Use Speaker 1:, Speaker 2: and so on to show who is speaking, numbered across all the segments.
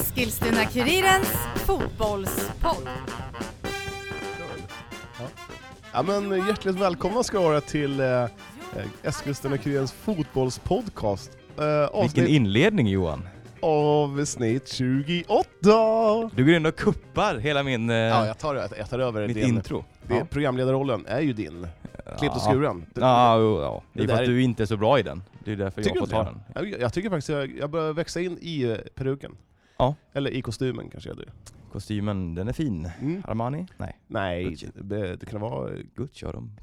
Speaker 1: Eskilstuna-Kurirens fotbollspodd.
Speaker 2: Ja, men eh, hjärtligt välkomna ska ni vara till eh, Eskilstuna-Kurirens fotbollspodcast. Eh,
Speaker 3: Vilken
Speaker 2: avsnitt,
Speaker 3: inledning Johan!
Speaker 2: avsnitt 28!
Speaker 3: Du går in och kuppar hela min, eh,
Speaker 2: Ja, jag tar, jag tar över
Speaker 3: mitt
Speaker 2: din.
Speaker 3: intro.
Speaker 2: Det,
Speaker 3: ja.
Speaker 2: Programledarrollen är ju din. Klippt och
Speaker 3: Ja.
Speaker 2: skuren. Du-
Speaker 3: Ja, jo, ja. Det
Speaker 2: Det
Speaker 3: är för
Speaker 2: där
Speaker 3: att
Speaker 2: är-
Speaker 3: du inte är så bra i den. Det är därför
Speaker 2: Tycker
Speaker 3: jag får
Speaker 2: du
Speaker 3: ta
Speaker 2: det?
Speaker 3: den.
Speaker 2: Jag, jag tycker faktiskt jag, jag börjar växa in i eh, peruken.
Speaker 3: Ja.
Speaker 2: Eller i kostymen kanske jag gör.
Speaker 3: Kostymen, den är fin.
Speaker 2: Mm.
Speaker 3: Armani? Nej,
Speaker 2: Nej,
Speaker 3: Gucci.
Speaker 2: det, det kan vara...
Speaker 3: Gucci har de.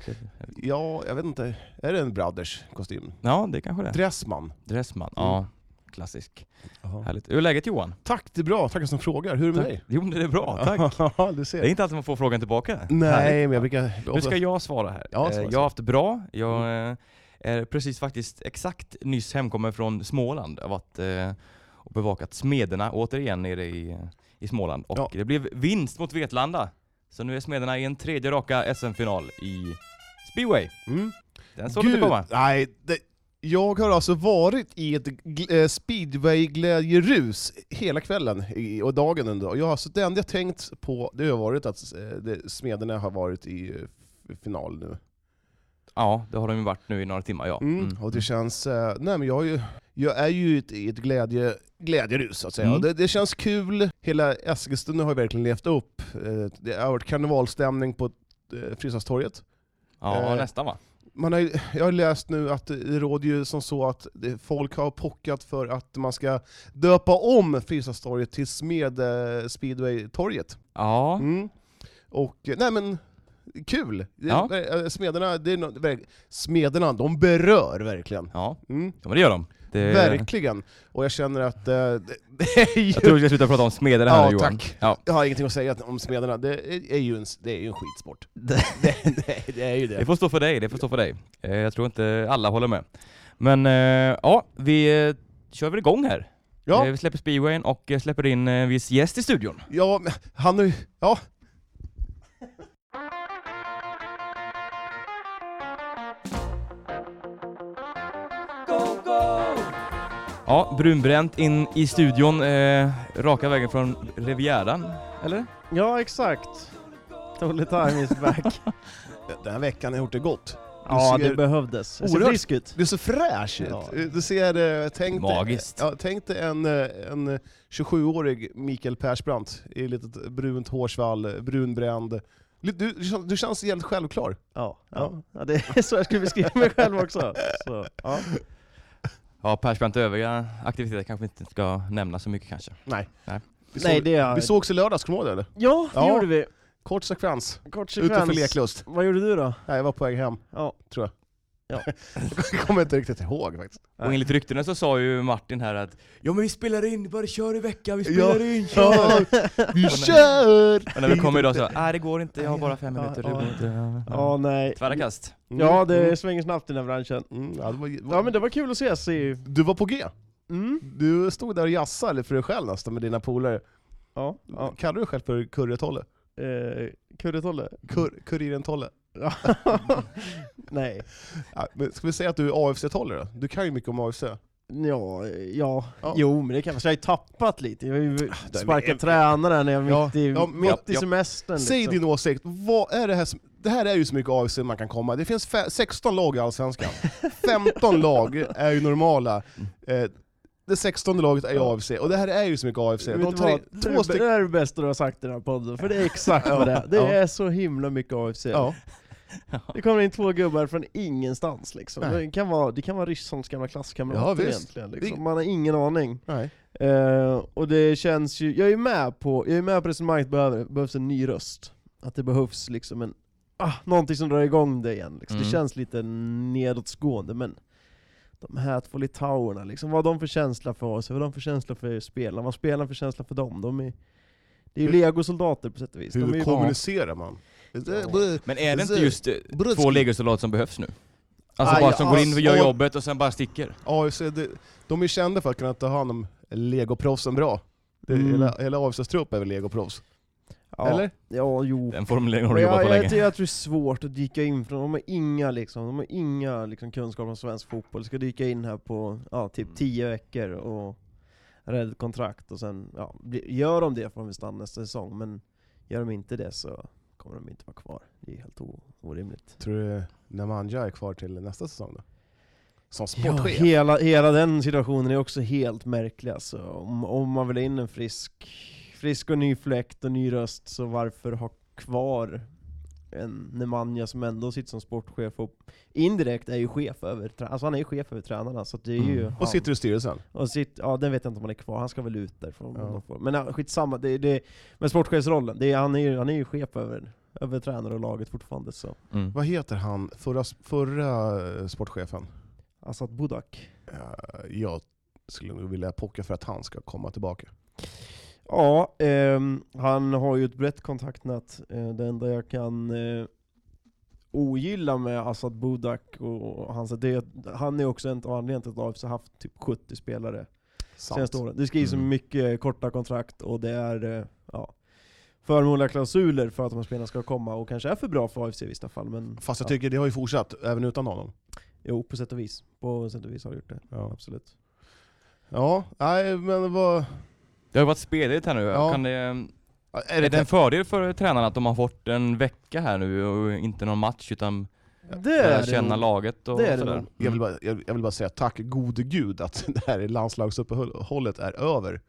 Speaker 2: Ja, jag vet inte. Är det en Brothers-kostym?
Speaker 3: Ja, det kanske det är.
Speaker 2: Dressman?
Speaker 3: Dressman,
Speaker 2: Mm.
Speaker 3: ja. Klassisk. Härligt. Hur är läget Johan?
Speaker 2: Tack, det är bra. Tackar som frågar. Hur är det med dig?
Speaker 3: Jo, men det är bra, tack.
Speaker 2: Ja, du ser.
Speaker 3: Det är inte alltid man får frågan tillbaka. Härligt.
Speaker 2: Nej, men jag brukar...
Speaker 3: Nu ska jag svara här.
Speaker 2: Typ, Ja, svara,
Speaker 3: Eh,
Speaker 2: svara. Mm.
Speaker 3: jag har haft det bra. Jag eh, är precis faktiskt exakt nyss hemkommen från Småland. Jag har varit eh, och bevakat Smederna återigen nere i, eh, i Småland. Och
Speaker 2: Ja.
Speaker 3: det blev vinst mot Vetlanda. Så nu är Smederna i en tredje raka SM-final i speedway.
Speaker 2: Mm.
Speaker 3: Den såg du inte komma.
Speaker 2: nej. Det, jag har alltså varit i ett gl- eh, speedway-glädjerus hela kvällen i, och dagen under. Och jag, har- så det enda jag tänkt på det har varit att eh, det, Smederna har varit i eh, f- final nu.
Speaker 3: Ja, det har de ju varit nu i några timmar ja.
Speaker 2: Mm.
Speaker 3: Mm.
Speaker 2: Och det känns... eh, Nej men jag, har ju, jag är ju i ett, i ett glädje, glädjerus så att säga.
Speaker 3: Mm.
Speaker 2: Och Det, det känns kul. Hela Eskilstuna har ju verkligen levt upp. Eh, Det har varit karnevalstämning på eh, Fryshustorget.
Speaker 3: Ja,
Speaker 2: Eh,
Speaker 3: nästan va?
Speaker 2: Man har, ju- jag har läst nu att det råder ju som så att det- folk har pockat för att man ska döpa om Fryshustorget till Smed eh, Speedway-torget.
Speaker 3: Ja,
Speaker 2: Mm. Och, eh, nej men, kul! Det-
Speaker 3: Ja.
Speaker 2: eh, Smederna, det är nå- verk- smederna, de berör verkligen.
Speaker 3: ja.
Speaker 2: Mm.
Speaker 3: ja men det gör de. Det,
Speaker 2: Verkligen! Och jag känner att eh, det, det är ju...
Speaker 3: jag tror vi ska sluta prata om Smederna här
Speaker 2: Ja,
Speaker 3: nu Johan.
Speaker 2: tack.
Speaker 3: Ja,
Speaker 2: Jag har ingenting att säga om smederna, det är ju en, det är ju en skitsport. Det, det, det är ju
Speaker 3: Det
Speaker 2: det.
Speaker 3: får stå för dig, det får stå för dig. Eh, Jag tror inte alla håller med. Men eh, ja, vi eh, kör väl igång här.
Speaker 2: Ja.
Speaker 3: Eh, Vi släpper speedwayen och eh, släpper in eh, en viss gäst i studion.
Speaker 2: Ja, men han har ju... Ja.
Speaker 3: Ja, brunbränt in i studion, eh, raka vägen från Rivieran, eller?
Speaker 4: Ja, exakt. Totally time is back.
Speaker 2: Den här veckan har gjort det gott.
Speaker 4: ja,
Speaker 2: ser
Speaker 4: det behövdes. Jag ser
Speaker 2: oerhört-
Speaker 4: frisk ut.
Speaker 2: Du är så fräsch ut.
Speaker 4: Ja.
Speaker 2: Du ser, eh, tänk dig,
Speaker 3: Magiskt.
Speaker 2: ja, tänk dig en, eh, en 27-årig Mikael Persbrandt i litet brunt hårsvall, eh, brunbränd. Du, du, känns- du känns helt självklar.
Speaker 4: Ja,
Speaker 2: Ja.
Speaker 4: ja. ja, det är så jag skulle beskriva mig själv också. Så, ja.
Speaker 3: Ja, Persbrandt övriga aktiviteter kanske vi inte ska nämna så mycket kanske.
Speaker 2: Vi,
Speaker 4: Nej,
Speaker 2: såg,
Speaker 4: det är...
Speaker 2: vi sågs i lördags, kommer du ihåg det eller?
Speaker 4: Ja, det
Speaker 2: Ja.
Speaker 4: gjorde vi.
Speaker 2: Kort sekvens,
Speaker 4: Kort
Speaker 2: utanför
Speaker 4: sekvens.
Speaker 2: Leklust.
Speaker 4: Vad gjorde du då?
Speaker 2: Nej, jag var på väg hem,
Speaker 4: Ja.
Speaker 2: tror jag.
Speaker 4: Ja.
Speaker 2: jag kommer inte riktigt ihåg faktiskt.
Speaker 3: Och enligt ryktena så sa ju Martin här att Ja men vi spelar in, bara kör i veckan, vi
Speaker 2: Ja.
Speaker 3: spelar in, kör!
Speaker 2: Ja, vi kör!
Speaker 3: Och när vi kommer idag så, nej det går inte, jag har bara fem
Speaker 4: Ja,
Speaker 3: minuter. det
Speaker 4: ja.
Speaker 3: går inte."
Speaker 4: Ja, nej.
Speaker 3: Tvära kast.
Speaker 2: Mm,
Speaker 4: Ja, det
Speaker 2: mm,
Speaker 4: svänger snabbt i den här branschen.
Speaker 2: mm, ja, det var,
Speaker 4: Ja, men det var kul att ses i...
Speaker 2: Du var på G.
Speaker 4: Mm.
Speaker 2: Du stod där och jassade för dig själv nästan med dina polare.
Speaker 4: Ja, ja.
Speaker 2: Kallar du dig själv för Kurre-Tolle?
Speaker 4: Eh, Kurre-Tolle?
Speaker 2: Kur, Kuriren-Tolle?
Speaker 4: Ja. nej.
Speaker 2: Ja, men ska vi säga att du är AFC-Tolle då? Du kan ju mycket om AFC.
Speaker 4: Ja, ja, Ah,
Speaker 2: Ja.
Speaker 4: jo men det kan jag. Så jag har ju tappat lite. Jag har ju
Speaker 2: men-
Speaker 4: sparkat tränare när jag var
Speaker 2: Ja,
Speaker 4: mitt i,
Speaker 2: ja, men-
Speaker 4: mitt i
Speaker 2: ja.
Speaker 4: semestern.
Speaker 2: Säg
Speaker 4: liksom.
Speaker 2: din åsikt, vad är det här som... Det här är ju så mycket AFC man kan komma. Det finns fe- 16 lag i Allsvenskan. 15 lag är ju normala. Eh, det 16 laget är ju
Speaker 4: Mm. Ja.
Speaker 2: AFC, och det här är ju så mycket AFC.
Speaker 4: Vet
Speaker 2: De
Speaker 4: du
Speaker 2: tar
Speaker 4: vad?
Speaker 2: in
Speaker 4: det,
Speaker 2: två
Speaker 4: är, det
Speaker 2: stycken...
Speaker 4: är det bästa du har sagt i den här podden, för det är exakt vad det är. Det
Speaker 2: Ja.
Speaker 4: är så himla mycket AFC.
Speaker 2: Ja.
Speaker 4: Det kommer in två gubbar från ingenstans liksom.
Speaker 2: Nej.
Speaker 4: Det kan vara, det kan vara Ryssons gamla
Speaker 2: Ja,
Speaker 4: klasskamrater
Speaker 2: visst.
Speaker 4: egentligen.
Speaker 2: Det-
Speaker 4: Liksom. Man har ingen aning.
Speaker 2: Nej.
Speaker 4: Eh, och det känns ju, jag är med på, jag är med på resonemanget att det behöver- behövs en ny röst. Att det behövs liksom en, ah, någonting som drar igång det igen. Liksom.
Speaker 3: Mm.
Speaker 4: Det känns lite nedåtgående men de här två litauerna, liksom, vad har de för känsla för oss? Vad har de för känsla för spelarna? Vad har spelarna för känsla för dem? De är, det är ju
Speaker 2: Hur-
Speaker 4: legosoldater på sätt och vis. De är
Speaker 2: Hur
Speaker 4: ju,
Speaker 2: kommunicerar man? Det-
Speaker 3: Men är det inte
Speaker 2: Så-
Speaker 3: just eh,
Speaker 2: Brudski.
Speaker 3: två legosoldater som behövs nu? Alltså
Speaker 2: Aj,
Speaker 3: bara som går in och gör
Speaker 2: alltså.
Speaker 3: jobbet och sen bara sticker?
Speaker 2: AFC, det, de är ju kända för att kunna ta hand om legoproffsen bra. Det,
Speaker 4: Mm.
Speaker 2: Hela, hela AFCs trupp är väl legoproffs?
Speaker 4: Ja.
Speaker 2: Eller?
Speaker 4: Ja, jo.
Speaker 3: Den formuleringen har
Speaker 4: Men
Speaker 3: du jobbat
Speaker 4: jag,
Speaker 3: på länge.
Speaker 4: jag, jag tror det är svårt att dyka in från, de har inga, liksom, de har inga liksom, kunskaper om svensk fotboll. Ska dyka in här på ja, typ
Speaker 3: Mm.
Speaker 4: tio veckor och rädda ett kontrakt och sen, ja, bli, gör de det får de väl stanna nästa säsong, men gör de inte det så kommer de inte vara kvar. Det är helt o- orimligt.
Speaker 2: Tror du Nemanja är kvar till nästa säsong då? Som
Speaker 4: Ja,
Speaker 2: sportchef?
Speaker 4: hela, hela den situationen är också helt märklig alltså. om, om man vill ha in en frisk, frisk och ny fläkt och ny röst, så varför ha kvar en Nemanja som ändå sitter som sportchef och indirekt är ju chef över, trä- alltså han är ju chef över tränarna så att det är ju
Speaker 3: Mm.
Speaker 4: han.
Speaker 2: och sitter i styrelsen?
Speaker 4: och sitt, ja den vet jag inte om han är kvar, han ska väl ut därifrån.
Speaker 2: Ja.
Speaker 4: om de får- Men ja, skitsamma, det, det, men sportchefsrollen, det, är- han, är ju, han är ju chef över, över tränare och laget fortfarande så.
Speaker 3: Mm.
Speaker 2: Vad heter han, förra, förra eh, sportchefen?
Speaker 4: Asad Budak.
Speaker 2: Eh, Jag skulle nog vilja pocka för att han ska komma tillbaka.
Speaker 4: Ja, ehm, han har ju ett brett kontaktnät. Eh, det enda jag kan eh, ogilla med Asad Budak och, och hans, det är att han är också en av anledningarna till att AFC har haft typ 70 spelare
Speaker 2: Sant.
Speaker 4: senaste åren. Det skrivs
Speaker 3: Mm.
Speaker 4: mm. mycket korta kontrakt och det är eh, ja, förmånliga klausuler för att de här spelarna ska komma och kanske är för bra för AFC i vissa fall. Men
Speaker 2: Fast jag
Speaker 4: ja,
Speaker 2: tycker det har ju fortsatt, även utan honom.
Speaker 4: jo, på sätt och vis. På sätt och vis har det gjort det.
Speaker 2: Ja.
Speaker 4: Absolut.
Speaker 2: Ja, nej men vad...
Speaker 3: Det har ju varit speligt här nu.
Speaker 2: Ja.
Speaker 3: Kan det, är,
Speaker 2: Är
Speaker 3: det en fördel för tränarna att de har fått en vecka här nu och inte någon match utan
Speaker 4: Det
Speaker 3: lära
Speaker 4: det
Speaker 3: känna
Speaker 4: nog.
Speaker 3: laget och
Speaker 4: Det är det
Speaker 3: sådär?
Speaker 4: nog.
Speaker 2: jag, vill bara, jag, vill- jag vill bara säga tack gode gud att det här landslagsuppehållet är över.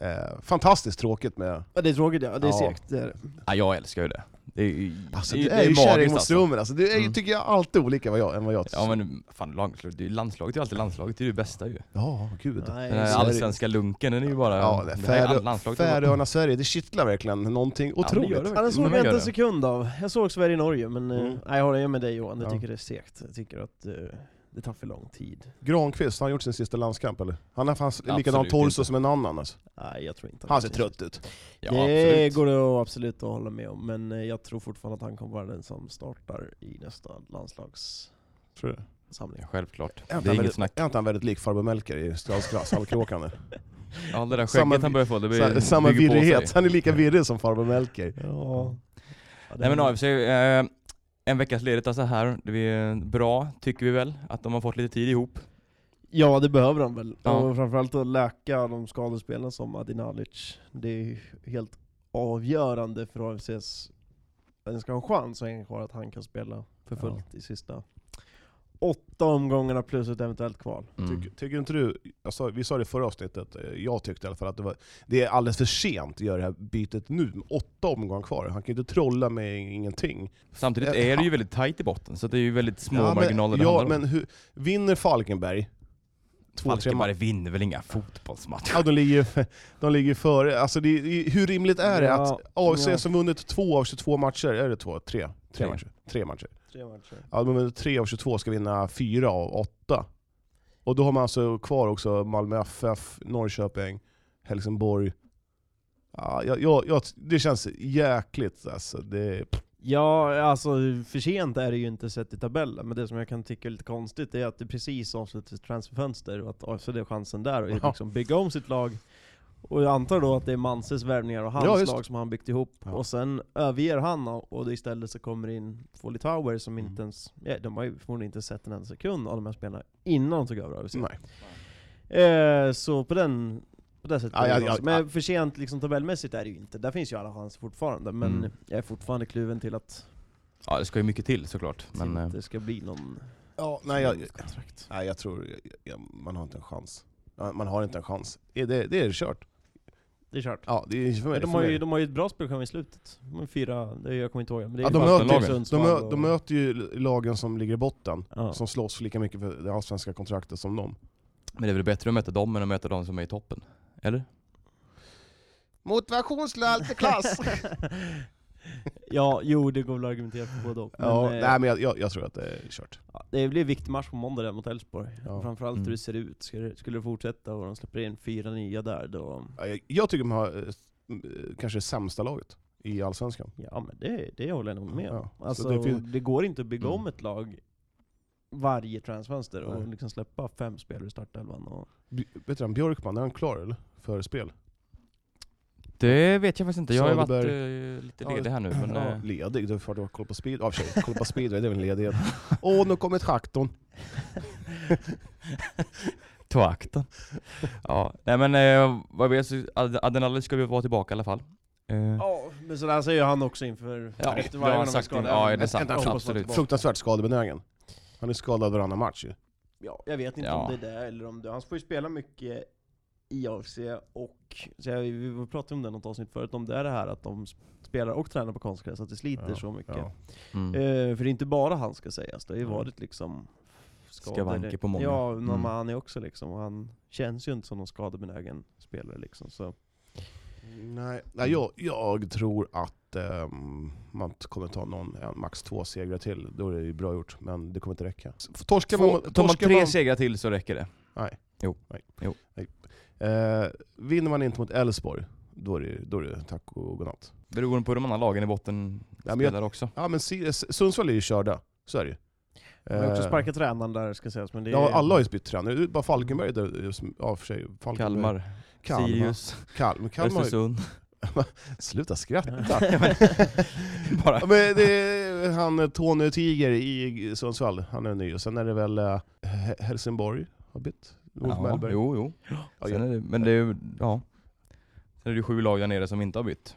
Speaker 2: Eh, fantastiskt tråkigt med...
Speaker 4: Ja, det är tråkigt ja, det är
Speaker 2: Ja.
Speaker 4: segt. Det är det.
Speaker 3: Mm. Ja, jag älskar ju det. Det är ju,
Speaker 2: Alltså
Speaker 3: det
Speaker 2: det
Speaker 3: är
Speaker 2: är ju
Speaker 3: magiskt
Speaker 2: kärring mot
Speaker 3: alltså.
Speaker 2: strummen alltså. Det är, ju,
Speaker 3: Mm.
Speaker 2: tycker jag alltid olika vad jag, än vad jag...
Speaker 3: Ja men fan, landslaget, det är ju landslaget det är ju alltid landslaget, det är ju det bästa ju.
Speaker 2: Ja, gud.
Speaker 4: Nej,
Speaker 3: Den här
Speaker 2: så
Speaker 4: så-
Speaker 2: är det.
Speaker 3: allsvenska lunken den är ju bara...
Speaker 2: Ja, det är
Speaker 3: här
Speaker 2: Färö-
Speaker 3: all- landslaget har varit-
Speaker 2: Färöarna-Sverige, det kittlar verkligen någonting
Speaker 3: Ja, men det
Speaker 2: otroligt.
Speaker 3: gör det
Speaker 4: Ja, den
Speaker 3: verkligen.
Speaker 4: såg
Speaker 3: Men gör
Speaker 4: jag inte en
Speaker 3: det.
Speaker 4: sekund av. Jag såg Sverige-Norge, men eh,
Speaker 2: Mm.
Speaker 4: nej, jag håller ju med dig Johan, jag
Speaker 2: Ja.
Speaker 4: tycker det är segt. Jag tycker att eh, det tar för lång tid.
Speaker 2: Granqvist, har han gjort sin sista landskamp eller? Han har fanns likadan
Speaker 3: Absolut
Speaker 2: torso
Speaker 3: inte.
Speaker 2: som en annan alltså.
Speaker 4: Nej, jag tror inte
Speaker 2: Han ser trött ut.
Speaker 3: Ja,
Speaker 4: det
Speaker 3: absolut.
Speaker 4: går det att absolut att hålla med om, men eh, jag tror fortfarande att han kommer vara den som startar i nästa landslagssamling.
Speaker 2: Tror du?
Speaker 3: Ja, självklart.
Speaker 2: Är inte
Speaker 3: det är
Speaker 2: han
Speaker 3: inget
Speaker 2: väldigt-
Speaker 3: snack.
Speaker 2: är inte han väldigt lik farbror Melker i Saltkråkan?
Speaker 3: Ja, det där skägget
Speaker 2: Samma-
Speaker 3: han börjar få, det blir,
Speaker 2: Sa- Samma
Speaker 3: bygger på sig.
Speaker 2: virrighet, han är lika virrig som farbror Melker.
Speaker 4: Ja.
Speaker 3: Nej men AFC, eh, en veckas ledigt alltså här. Det är bra, tycker vi väl, att de har fått lite tid ihop.
Speaker 4: Ja, det behöver de väl.
Speaker 3: Ja.
Speaker 4: Och framförallt att läka de skadespelarna som Adinalic. Det är ju helt avgörande för AFCs, att den ska ha en chans att hänga kvar, att han kan spela för fullt i sista åtta omgångarna plus ett eventuellt kval.
Speaker 3: Mm.
Speaker 2: Tycker, tycker inte du, jag sa, vi sa det i förra avsnittet, eh, jag tyckte i alla fall att det, var, det är alldeles för sent att göra det här bytet nu. Åtta omgångar kvar, han kan ju inte trolla med ingenting.
Speaker 3: Samtidigt är det ju väldigt tight i botten, så det är ju väldigt små
Speaker 2: Ja,
Speaker 3: marginaler
Speaker 2: men,
Speaker 3: det
Speaker 2: ja,
Speaker 3: handlar om.
Speaker 2: men hur, vinner Falkenberg, två, tre
Speaker 3: Falkenberg
Speaker 2: matcher.
Speaker 3: vinner väl inga fotbollsmatcher?
Speaker 2: Ja, de ligger ju de ligger ju före. Alltså det, är- hur rimligt är det
Speaker 4: Ja,
Speaker 2: att AFC
Speaker 4: ja.
Speaker 2: som vunnit två av 22 matcher, är det två? Tre? Tre,
Speaker 3: Tre.
Speaker 2: matcher. Tre matcher.
Speaker 4: Tre matcher.
Speaker 2: Ja, de har vunnit tre av 22 ska vinna fyra av åtta. Och då har man alltså kvar också Malmö FF, Norrköping, Helsingborg. Ja, jag, jag, jag, det känns jäkligt alltså. Det,
Speaker 4: Ja, alltså för sent är det ju inte sett i tabellen, men det som jag kan tycka är lite konstigt är att det precis avslutas ett transferfönster och att AFC har chansen där och
Speaker 2: Ja.
Speaker 4: liksom bygga om sitt lag. Och jag antar då att det är Manses värvningar och hans
Speaker 2: Ja, just.
Speaker 4: lag som han byggt ihop,
Speaker 2: Ja.
Speaker 4: och sen överger han och och det istället så kommer in två litauer som
Speaker 2: Mm.
Speaker 4: inte ens, ja, de har ju förmodligen inte sett en enda sekund av de här spelarna innan de tog över AFC.
Speaker 2: nej.
Speaker 4: Eh, så på den på det sättet
Speaker 2: Ja,
Speaker 4: är det
Speaker 2: ja,
Speaker 4: bra.
Speaker 2: ja,
Speaker 4: Men
Speaker 2: ja.
Speaker 4: för sent liksom, tabellmässigt är det ju inte. Där finns ju alla chanser fortfarande. Men
Speaker 3: Mm.
Speaker 4: jag är fortfarande kluven till att
Speaker 3: Ja, det ska ju mycket till såklart.
Speaker 4: det
Speaker 3: Men, eh,
Speaker 4: inte ska bli någon
Speaker 2: Ja, nej, jag,
Speaker 4: kontrakt.
Speaker 2: nej, jag tror jag, jag, man har inte en chans. Ja, Man har inte en chans. Det, det, det är kört.
Speaker 4: Det är kört.
Speaker 2: Ja, det är för mig.
Speaker 4: Men de,
Speaker 2: för
Speaker 4: har
Speaker 2: mig.
Speaker 4: ju, de har ju ett bra spelschema i slutet. De har fyra, det, jag kommer inte ihåg. Men det är
Speaker 2: Ja,
Speaker 4: ju
Speaker 2: de
Speaker 4: Falkenberg,
Speaker 2: möter-
Speaker 3: de
Speaker 2: De,
Speaker 4: Sundsvall
Speaker 2: mö, de
Speaker 4: och-
Speaker 2: möter ju lagen som ligger i botten,
Speaker 4: Ja.
Speaker 2: som slåss lika mycket för det allsvenska kontraktet som de.
Speaker 3: men det är väl bättre att möta dem än att möta de som är i toppen? Eller?
Speaker 2: Motivationslös klass!
Speaker 4: ja, jo det går väl att argumentera för båda och. Men,
Speaker 2: ja,
Speaker 4: eh,
Speaker 2: nej men jag, jag, jag tror att det är kört.
Speaker 4: ja, det blir en viktig match på måndag där mot Elfsborg.
Speaker 2: Ja.
Speaker 4: Framförallt
Speaker 3: Mm.
Speaker 4: hur det ser ut. Skulle, det- skulle det fortsätta och de släpper in fyra nya där då...
Speaker 2: Ja, Jag, jag tycker de har eh, s- m- eh, kanske det sämsta laget i Allsvenskan.
Speaker 4: Ja men det, det håller jag nog med om.
Speaker 2: Ja, så
Speaker 4: Alltså,
Speaker 2: det
Speaker 4: det,
Speaker 2: finns-
Speaker 4: går inte att bygga
Speaker 3: Mm.
Speaker 4: om ett lag varje transfönster och
Speaker 2: Nej.
Speaker 4: liksom släppa fem spelare i startelvan. Och...
Speaker 2: B- Vet du, han, Björkman, är han klar eller? För spel?
Speaker 3: Det vet jag faktiskt inte. Jag har ju varit
Speaker 2: Söderberg.
Speaker 3: eh, lite
Speaker 2: Ja,
Speaker 3: ledig här nu. Men,
Speaker 2: ja,
Speaker 3: eh,
Speaker 2: ledig? Du får kolla på speed... Ja, tjej, kolla på speedway, det är väl en ledighet. Åh, nu kommer traktorn.
Speaker 3: Tvakten. ja, nej men eh, vad jag vet så ad- Adenali ska vi vara tillbaka i alla fall. Eh,
Speaker 4: Ja, men sådär säger han också inför
Speaker 3: Ja,
Speaker 4: efter
Speaker 3: det har
Speaker 4: varje
Speaker 3: han
Speaker 4: gång de är
Speaker 3: sagt.
Speaker 4: skadade.
Speaker 3: Ja, det är
Speaker 4: Jag
Speaker 3: sant.
Speaker 4: hoppas vara
Speaker 3: Absolut.
Speaker 4: tillbaka.
Speaker 2: Fruktansvärt skadebenägen. Han är skadad varannan match ju.
Speaker 4: Ja, jag vet inte
Speaker 3: Ja.
Speaker 4: om det är det eller om det. Han får ju spela mycket i AFC och, så jag, vi pratade om det i något avsnitt förut, om det är det här att de spelar och tränar på konstgräs, att det sliter
Speaker 2: Ja,
Speaker 4: så mycket.
Speaker 2: Ja.
Speaker 3: mm.
Speaker 4: Eh, för det är inte bara han ska sägas, det har ju
Speaker 2: Mm.
Speaker 4: varit liksom skador.
Speaker 3: Skavanker på många.
Speaker 4: Ja, mm.
Speaker 3: Mm.
Speaker 4: han är också liksom, och han känns ju inte som någon skadebenägen spelare liksom. Så.
Speaker 2: Nej, nej jag, jag tror att ehm, man kommer ta någon, en, max två segrar till. Då är det ju bra gjort, men det kommer inte räcka. Torskar
Speaker 3: Få,
Speaker 2: man,
Speaker 3: tar man
Speaker 2: torskar
Speaker 3: tre
Speaker 2: man,
Speaker 3: segrar till så räcker det.
Speaker 2: eh, vinner man inte mot Elfsborg, då är det, då är det tack och godnatt.
Speaker 3: Beroende på hur de andra lagen i botten
Speaker 2: Ja, men jag-
Speaker 3: spelar också.
Speaker 2: Ja, men Si- S- Sundsvall är ju körda, så är det ju.
Speaker 4: Han har också
Speaker 2: Eh,
Speaker 4: sparkat tränaren där ska sägas, men det är
Speaker 2: Ja, alla har ju bytt tränare. Det är bara Falkenberg där, som- ja, för sig, Falkenberg.
Speaker 3: Kalmar,
Speaker 2: Kalmar.
Speaker 3: Sirius,
Speaker 2: Kalmar. Kalmar.
Speaker 3: Östersund.
Speaker 2: Sluta skratta.
Speaker 3: Bara.
Speaker 2: Ja, Men det är han eh, Tony Tiger i Sundsvall, han är ny. Och sen är det väl eh, He- Helsingborg har bytt. Ulf
Speaker 3: Ja,
Speaker 2: Mellberg.
Speaker 3: jo, jo.
Speaker 2: Ja,
Speaker 3: Sen är det, men det är ju, ja. Sen är det ju sju lag där nere som inte har bytt.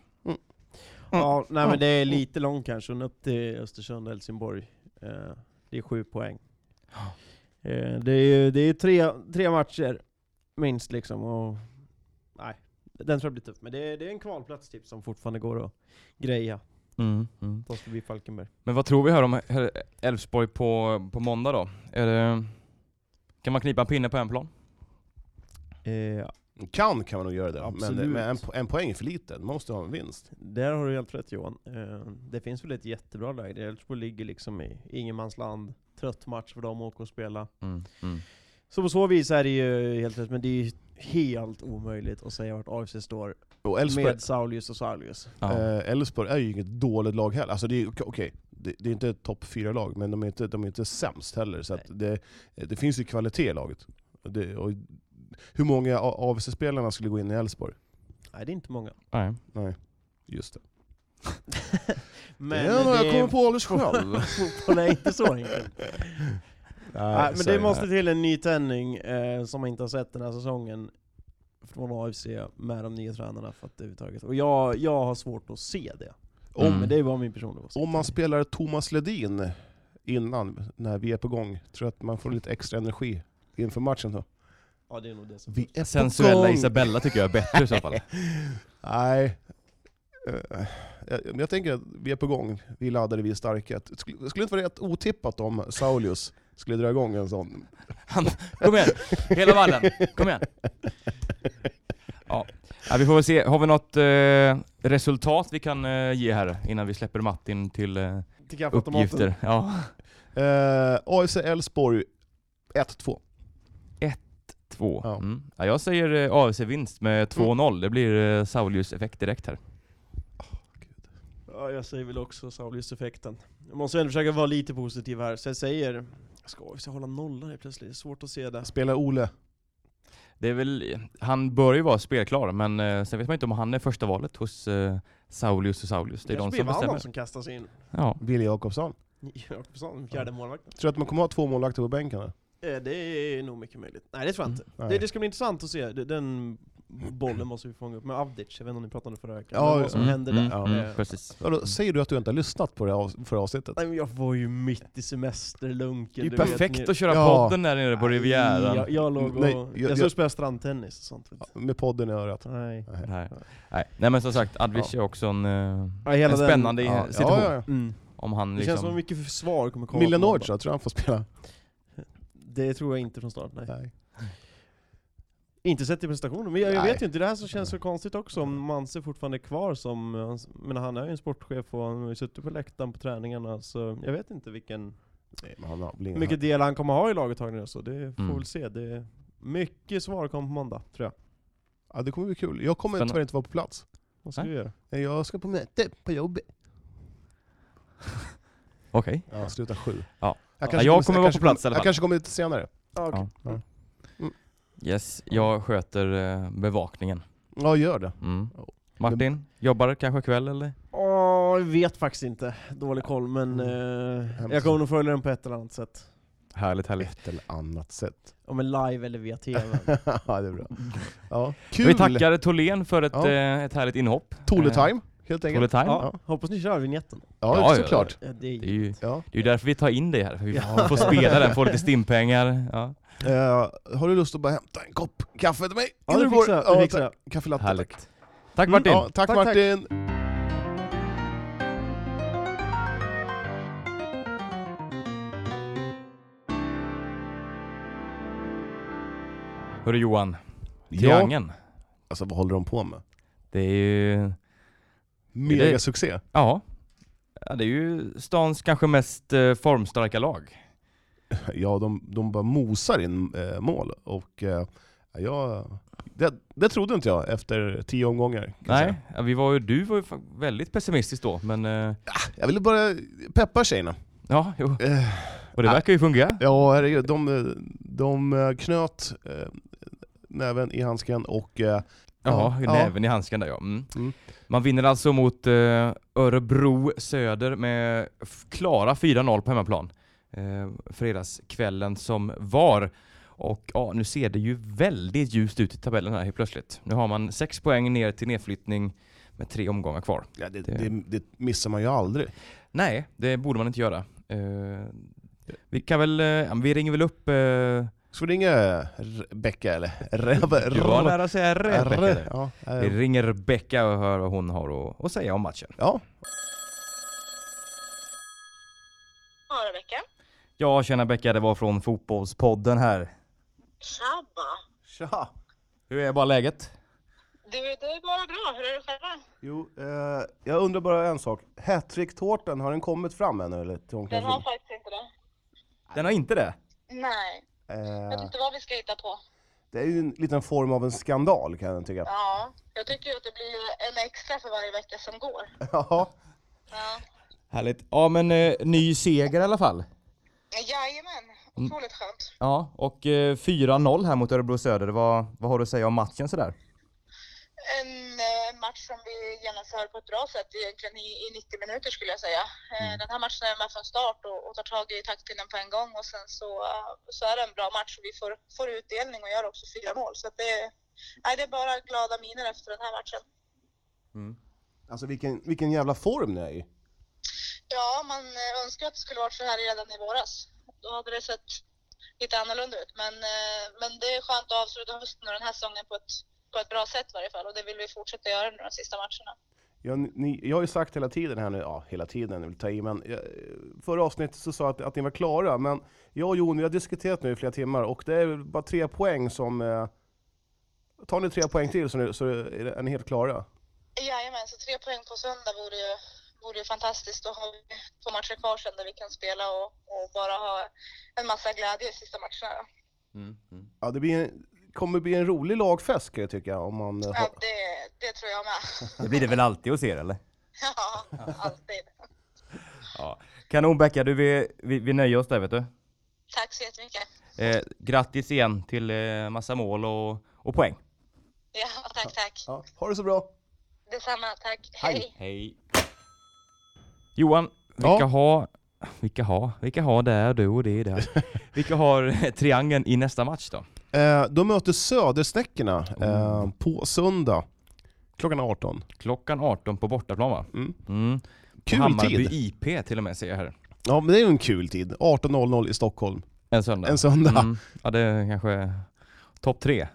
Speaker 4: Ja, nej men det är lite långt kanske, men upp till Östersund och Helsingborg. Eh, det är sju poäng. Eh, det är ju det är tre, tre matcher, minst liksom. Och, nej, den tror jag blir tuff. Men det är, det är en kvalplats typ som fortfarande går att greja. Ta oss förbi Falkenberg.
Speaker 3: Men vad tror vi här om här Elfsborg på, på måndag då? Är det, kan man knipa en pinne på en plan?
Speaker 4: Eh,
Speaker 2: Kan kan man nog göra det,
Speaker 4: Absolut.
Speaker 2: men, eh, men en, po- en poäng är för lite. Man måste ha en vinst.
Speaker 4: där har du helt rätt Johan. Eh, det finns väl ett jättebra läge. Elfsborg ligger liksom i ingenmansland. Trött match för dem att åka och spela.
Speaker 3: Mm,
Speaker 4: Så på så vis är det ju helt rätt, men det är ju helt omöjligt att säga vart AFC står
Speaker 2: Och Elfsborg
Speaker 4: med Saulius och Saulius.
Speaker 3: Ja.
Speaker 2: eh, Elfsborg är ju inget dåligt lag heller. Alltså det är, okej, okej, det, det är inte ett topp fyra lag men de är inte, de är inte sämst heller. Så att det, det finns ju kvalitet i laget. Och Det, och hur många av AFC-spelarna skulle gå in i Elfsborg?
Speaker 4: Nej, det är inte många.
Speaker 3: Nej.
Speaker 2: Nej, just det.
Speaker 4: Men
Speaker 2: det är några jag kommer
Speaker 4: är,
Speaker 2: på alldeles själv.
Speaker 4: fotboll är inte så enkelt. Nej, men
Speaker 2: så är
Speaker 4: det måste till en ny tändning eh, som man inte har sett den här säsongen från AFC med de nya tränarna för att överhuvudtaget. Och jag, jag har svårt att se det.
Speaker 2: Om-
Speaker 4: Men det är bara min personliga åsikt.
Speaker 2: Mm. Om man spelar Thomas Ledin innan, när vi är på gång, tror jag att man får lite extra energi inför matchen då?
Speaker 4: Ja, det är nog det som...
Speaker 2: Vi är
Speaker 3: Sensuella Isabella tycker jag är bättre i så fall.
Speaker 2: Nej. Eh, jag- Men jag tänker att vi är på gång, vi är laddade, vi är starka. Att- Skulle skulle inte vara rätt otippat om Saulius skulle dra igång en sån?
Speaker 3: Kom igen, hela vallen, kom igen. Ja. Ja, vi får väl se, har vi något eh, resultat vi kan eh, ge här innan vi släpper Martin till eh,
Speaker 4: Till kaffeautomaten.
Speaker 3: uppgifter? Ja.
Speaker 2: Eh, AFC Elfsborg 1-2.
Speaker 3: Två.
Speaker 2: Ja. Mm.
Speaker 3: Mm. Ja, jag säger eh, AFC-vinst med 2-0, det blir eh, Saulius-effekt direkt här.
Speaker 4: Ja, jag säger väl också Saulius-effekten. Jag måste ändå försöka vara lite positiv här, så jag säger... Ska AFC hålla nollan helt plötsligt? Det är svårt att se det.
Speaker 2: Spelar Ole?
Speaker 3: Det är väl, han bör ju vara spelklar, men eh, sen vet man inte om han är första valet hos eh, Saulius och Saulius. Det är de
Speaker 4: Kanske blir
Speaker 3: som bestämmer.
Speaker 4: Vannan som kastas in.
Speaker 3: Ja.
Speaker 2: Wille Jakobsson?
Speaker 4: Jakobsson, fjärde målvakten.
Speaker 2: Tror du att man kommer ha två målvakter på bänken? eller?
Speaker 4: Eh, Det är nog mycket möjligt. Nej det tror jag inte.
Speaker 3: Mm,
Speaker 2: Nej.
Speaker 4: Det, det ska bli intressant att se, Det- den bollen måste vi fånga upp med Avdic, jag vet inte om ni pratade om det förra veckan,
Speaker 2: Ja,
Speaker 4: men vad som
Speaker 3: Mm,
Speaker 4: hände
Speaker 3: mm,
Speaker 4: där.
Speaker 2: Ja.
Speaker 3: Mm,
Speaker 4: Eh,
Speaker 3: precis.
Speaker 2: Vadå, Säger du att du inte har lyssnat på det av- förra avsnittet?
Speaker 4: Nej men jag var ju mitt i semesterlunken.
Speaker 3: Det är
Speaker 4: du
Speaker 3: ju
Speaker 4: vet,
Speaker 3: perfekt
Speaker 4: ni-
Speaker 3: att köra
Speaker 2: Ja.
Speaker 3: podden där nere på
Speaker 4: Nej,
Speaker 3: Rivieran.
Speaker 4: Jag, jag låg och...
Speaker 2: Nej,
Speaker 4: jag
Speaker 2: jag-
Speaker 4: jag skulle
Speaker 2: jag-
Speaker 4: spela strandtennis och sånt. vet du.
Speaker 2: Ja, Med podden i örat?
Speaker 4: Nej.
Speaker 3: Nej. Nej. Nej men som sagt, Advic är också en, eh,
Speaker 4: Ja, hela
Speaker 3: en
Speaker 4: den-
Speaker 3: spännande i-
Speaker 2: Ja,
Speaker 3: situation.
Speaker 2: ja, ja.
Speaker 4: Mm.
Speaker 3: Om han
Speaker 4: Det känns som
Speaker 3: liksom...
Speaker 4: mycket för svar kommer komma.
Speaker 2: Milanovic då, tror du han får spela?
Speaker 4: Det tror jag inte från start, nej.
Speaker 2: Nej.
Speaker 4: Inte sett i prestationen, men jag, jag
Speaker 2: Nej.
Speaker 4: vet ju inte. Det här som känns så konstigt också, om Manse fortfarande är kvar som... eh, hans- Men han är ju en sportchef och han har ju suttit på läktaren på träningarna, så jag vet inte vilken...
Speaker 2: Nej, men han har väl
Speaker 4: Hur
Speaker 2: ingen-
Speaker 4: mycket del han kommer ha i laguttagningen och så, det får
Speaker 3: Mm.
Speaker 4: väl se. Det är mycket svar kommer på måndag, tror jag.
Speaker 2: Ja, det kommer bli kul. Jag kommer
Speaker 3: Spännande.
Speaker 2: tyvärr inte vara på plats.
Speaker 4: Vad ska
Speaker 3: Nej.
Speaker 4: vi göra?
Speaker 2: Nej, Jag ska på möte på jobbet.
Speaker 3: Okej.
Speaker 2: Ja, sluta sju.
Speaker 3: Ja.
Speaker 2: Jag,
Speaker 3: Ja, jag kommer vara
Speaker 2: kanske
Speaker 3: på plats i alla
Speaker 2: Jag
Speaker 3: fall.
Speaker 2: kanske kommer lite senare.
Speaker 3: okej.
Speaker 2: Ja. Mm.
Speaker 3: Yes, jag sköter eh, bevakningen.
Speaker 2: Ja, gör det.
Speaker 3: Mm. Martin, jobbar kanske kväll eller?
Speaker 4: Åh, jag vet faktiskt inte. Dålig koll, men
Speaker 2: Mm.
Speaker 4: eh,
Speaker 2: Hemskt.
Speaker 4: jag kommer nog följa den på ett eller annat sätt.
Speaker 3: Härligt, härligt.
Speaker 2: Ett eller annat sätt.
Speaker 4: Om en live eller via TV.
Speaker 2: ja, det är bra. Ja. Kul!
Speaker 3: Vi tackar Tholén för ett,
Speaker 2: Ja.
Speaker 3: eh, ett härligt inhopp.
Speaker 2: Tole-time, helt enkelt.
Speaker 3: Toletime.
Speaker 4: ja,
Speaker 2: Eh, Ja.
Speaker 4: hoppas ni kör vignetten.
Speaker 2: Ja,
Speaker 3: Ja, ja,
Speaker 2: såklart.
Speaker 4: Ja, det är
Speaker 3: Eh, Det är ju
Speaker 2: Ja.
Speaker 3: det är ju därför vi tar in dig här, för vi
Speaker 4: Ja.
Speaker 3: får spela den, får lite stimpengar. Ja.
Speaker 2: Eh, har du lust att bara hämta en kopp kaffe till mig?
Speaker 4: Ja,
Speaker 2: Innan du
Speaker 4: det
Speaker 2: går?
Speaker 4: fixar jag.
Speaker 2: Ja,
Speaker 4: Det fixar jag.
Speaker 2: tack. Kaffe latte,
Speaker 3: Härligt.
Speaker 2: tack.
Speaker 3: Tack Martin!
Speaker 2: Mm, ja, tack,
Speaker 4: Tack, tack.
Speaker 2: Martin!
Speaker 3: Hörru Johan,
Speaker 2: Ja.
Speaker 3: Triangeln.
Speaker 2: Alltså vad håller de på med?
Speaker 3: Det är ju...
Speaker 2: Mega succé.
Speaker 3: Ja. ja. Det är ju stans kanske mest eh, formstarka lag.
Speaker 2: Ja, de, de bara mosar in eh, mål. Och eh, jag, det, det trodde inte jag efter tio omgångar. kan jag
Speaker 3: Nej,
Speaker 2: säga.
Speaker 3: ja, vi var ju, du var ju fa- väldigt pessimistisk då, men... eh,
Speaker 2: Jag ville bara peppa tjejerna.
Speaker 3: Ja, jo.
Speaker 2: Eh,
Speaker 3: Och det
Speaker 2: Ja.
Speaker 3: verkar ju fungera.
Speaker 2: Ja, herregud. De, eh, de eh, knöt eh, näven i handsken och... Eh,
Speaker 3: Jaha,
Speaker 2: Ja.
Speaker 3: näven i handsken där ja. Mm.
Speaker 2: Mm.
Speaker 3: Man vinner alltså mot eh, Örebro Söder med f- klara 4-0 på hemmaplan. Eh, fredagskvällen som var. Och ja, nu ser det ju väldigt ljust ut i tabellen här helt plötsligt. Nu har man 6 poäng ner till nedflyttning med tre omgångar kvar.
Speaker 2: ja, det,
Speaker 3: Det-
Speaker 2: det, det missar man ju aldrig.
Speaker 3: Nej, det borde man inte göra. Eh, vi kan väl, eh, ja, men vi ringer väl upp... Eh,
Speaker 2: Ska vi ringa Rebecka eller? Rebe-
Speaker 3: du var nära att säga Rebecka. där.
Speaker 2: Ja,
Speaker 3: Vi
Speaker 2: eh,
Speaker 3: ringer Rebecka och hör vad hon har att- att säga om matchen.
Speaker 2: ja.
Speaker 5: Ja, Rebecka.
Speaker 3: Ja, tjena Becka, det var från Fotbollspodden här.
Speaker 5: Tjabba!
Speaker 2: Tja!
Speaker 3: Hur är bara läget?
Speaker 5: Du, det är bara bra. Hur är det själva?
Speaker 2: Jo, eh, jag undrar bara en sak. Hattrick-tårtan, har den kommit fram ännu eller till
Speaker 5: Den har
Speaker 2: omklädningsrummet?
Speaker 5: faktiskt inte det.
Speaker 3: Den har inte det?
Speaker 5: Nej, jag vet
Speaker 2: Eh,
Speaker 5: inte vad vi ska hitta på.
Speaker 2: det är ju en liten form av en skandal kan jag tycka.
Speaker 5: Ja, jag tycker ju att det blir en extra för varje vecka som går.
Speaker 2: Ja.
Speaker 5: Ja.
Speaker 3: Härligt. Ja men eh, ny seger i alla fall.
Speaker 5: Jajamän, otroligt skönt.
Speaker 3: Ja, och eh, 4-0 här mot Örebro Söder. Vad, vad har du att säga om matchen sådär?
Speaker 5: En eh, match som vi genomför på ett bra sätt egentligen i, i 90 minuter skulle jag säga. Eh, Den här matchen är jag med från start och, och tar tag i taktpinnen på en gång och sen så, eh, så är det en bra match och vi får, får utdelning och gör också fyra mål. Så att det, nej, det är bara glada miner efter den här matchen.
Speaker 2: Alltså vilken, vilken jävla form ni är i.
Speaker 5: Ja, man eh, önskar att det skulle varit så här redan i våras. Då hade det sett lite annorlunda ut. Men, eh, men det är skönt att avsluta hösten och den här säsongen på ett, på ett bra sätt i varje fall. Och det vill vi fortsätta göra nu de sista matcherna.
Speaker 2: Jag, ni, jag har ju sagt hela tiden här nu, ja hela tiden, jag vill ta i, men jag, förra avsnittet så sa jag att, att ni var klara, men jag och Jon vi har diskuterat nu i flera timmar och det är bara tre poäng som... Eh, tar ni tre poäng till så, nu, så är, det- är ni helt klara.
Speaker 5: Jajamän, så tre poäng på söndag vore ju, vore ju fantastiskt. Då har vi två matcher kvar sen där vi kan spela och, och bara ha en massa glädje i sista matcherna. då.
Speaker 3: Mm,
Speaker 2: Ja, det blir en, kommer bli en rolig lagfest ska jag tycka om man... eh, har-
Speaker 5: Ja, det, det tror jag med.
Speaker 3: Det blir det väl alltid hos er eller?
Speaker 5: Ja, alltid.
Speaker 3: Ja. Kanon Becka, du vi, vi, vi nöjer oss där vet du.
Speaker 5: Tack så jättemycket.
Speaker 3: Eh, grattis igen till eh, massa mål och, och poäng.
Speaker 5: Ja, tack, tack.
Speaker 2: Ja, ha det så bra!
Speaker 5: Detsamma, tack. Hej.
Speaker 3: Hej. Johan, vilka
Speaker 2: Ja.
Speaker 3: har... Vilka har? Vilka har där, du och det där? vilka har eh, triangeln i nästa match då?
Speaker 2: Eh, de möter Södersnäckorna eh, på söndag klockan 18.
Speaker 3: Klockan 18 på bortaplan va?
Speaker 2: Mm.
Speaker 3: Mm. På
Speaker 2: Kul
Speaker 3: Hammarby
Speaker 2: tid!
Speaker 3: IP till och med ser jag här.
Speaker 2: Ja, men det är ju en kul tid. 18.00 i Stockholm.
Speaker 3: En söndag.
Speaker 2: En söndag.
Speaker 3: Mm. Ja det är kanske topp tre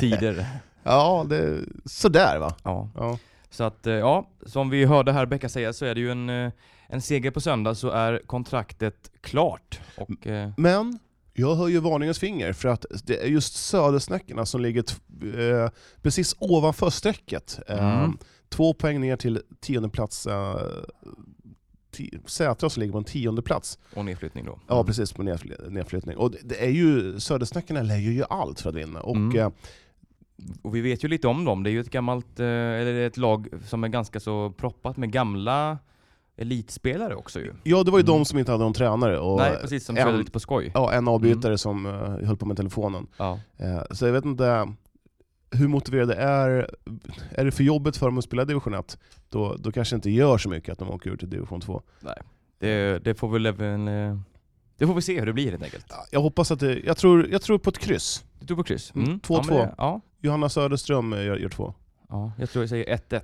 Speaker 3: tider.
Speaker 2: Ja, det, sådär va?
Speaker 3: Ja.
Speaker 2: Ja.
Speaker 3: Så att eh, ja, som vi hörde här Becka säga så är det ju en, eh, en seger på söndag så är kontraktet klart. Och
Speaker 2: Mm.
Speaker 3: eh,
Speaker 2: Men jag höjer varningens finger för att det är just Södersnäckorna som ligger t- eh, precis ovanför strecket. Eh,
Speaker 3: Mm.
Speaker 2: Två poäng ner till tionde plats. Eh, ti- Sätra som ligger på en tionde plats.
Speaker 3: och nedflyttning då.
Speaker 2: Ja, precis. På nedfly- nedflyttning. Och det- det är ju, Södersnäckorna lägger ju allt för att vinna. Och,
Speaker 3: Mm.
Speaker 2: eh,
Speaker 3: Och vi vet ju lite om dem. Det är ju ett gammalt, eh, eller det är ett lag som är ganska så proppat med gamla elitspelare också ju.
Speaker 2: ja, det var ju
Speaker 3: Mm.
Speaker 2: de som inte hade någon tränare. Och
Speaker 3: Nej precis, som Mm.
Speaker 2: en-
Speaker 3: körde lite på skoj.
Speaker 2: Ja, en avbytare som eh, höll på med telefonen.
Speaker 3: Ja.
Speaker 2: Eh, Så jag vet inte, hur motiverade är, är det för jobbet för dem att spela division 1, då, då kanske det inte gör så mycket att de åker ur till division 2.
Speaker 3: Det, det får väl även... eh, Det får vi se hur det blir helt enkelt.
Speaker 2: Ja, Jag hoppas att det, jag tror, jag tror på ett kryss.
Speaker 3: Du tog på kryss?
Speaker 2: Mm,
Speaker 3: Ja, men
Speaker 2: 2-2.
Speaker 3: det- Ja,
Speaker 2: Johanna Söderström eh, gör, gör två.
Speaker 3: ja, jag tror jag säger 1-1.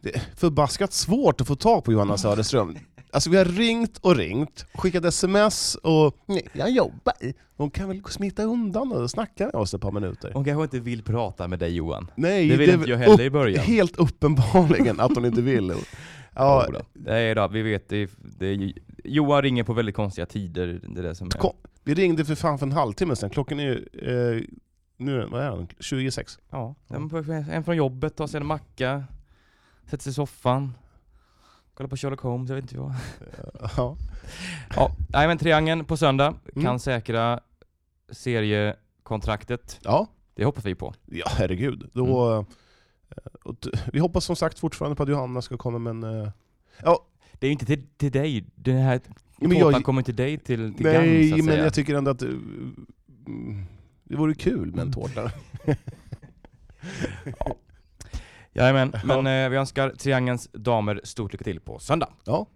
Speaker 2: Det är förbaskat svårt att få tag på Johanna Söderström. Alltså vi har ringt och ringt, skickat sms och nej, jag jobbar. Hon kan väl smita undan och snacka med oss ett par minuter.
Speaker 3: Hon kanske inte vill prata med dig Johan.
Speaker 2: Nej,
Speaker 3: Det vill
Speaker 2: är
Speaker 3: inte
Speaker 2: väl
Speaker 3: jag heller i
Speaker 2: upp-
Speaker 3: början.
Speaker 2: Helt uppenbarligen att hon inte vill. Ja,
Speaker 3: Jodå. Nej då, vi vet. Det, det, Johan ringer på väldigt konstiga tider. Det är det som är.
Speaker 2: Kom. vi ringde för fan för en halvtimme sedan. Klockan är ju, eh, nu, är den- vad är den? 26.
Speaker 3: Ja, en på- en från jobbet, tar sig en macka, sätter sig i soffan, kollar på Sherlock Holmes, jag vet inte vad.
Speaker 2: Ja.
Speaker 3: Ja, nej men triangeln på söndag kan
Speaker 2: Mm.
Speaker 3: säkra seriekontraktet.
Speaker 2: ja,
Speaker 3: Det hoppas vi på.
Speaker 2: Ja, herregud. Då,
Speaker 3: Mm.
Speaker 2: eh, och t- vi hoppas som sagt fortfarande på att Johanna ska komma med en... eh, Ja,
Speaker 3: Det är ju inte till, till dig, den här
Speaker 2: men
Speaker 3: tårtan
Speaker 2: jag-
Speaker 3: kommer till dig till, till
Speaker 2: nej,
Speaker 3: gagn, så att
Speaker 2: men
Speaker 3: säga.
Speaker 2: jag tycker ändå att... eh, mm, Det vore kul
Speaker 3: Mm.
Speaker 2: med en tårta.
Speaker 3: Jajamän, men eh, vi önskar triangelns damer stort lycka till på söndag.
Speaker 2: Ja.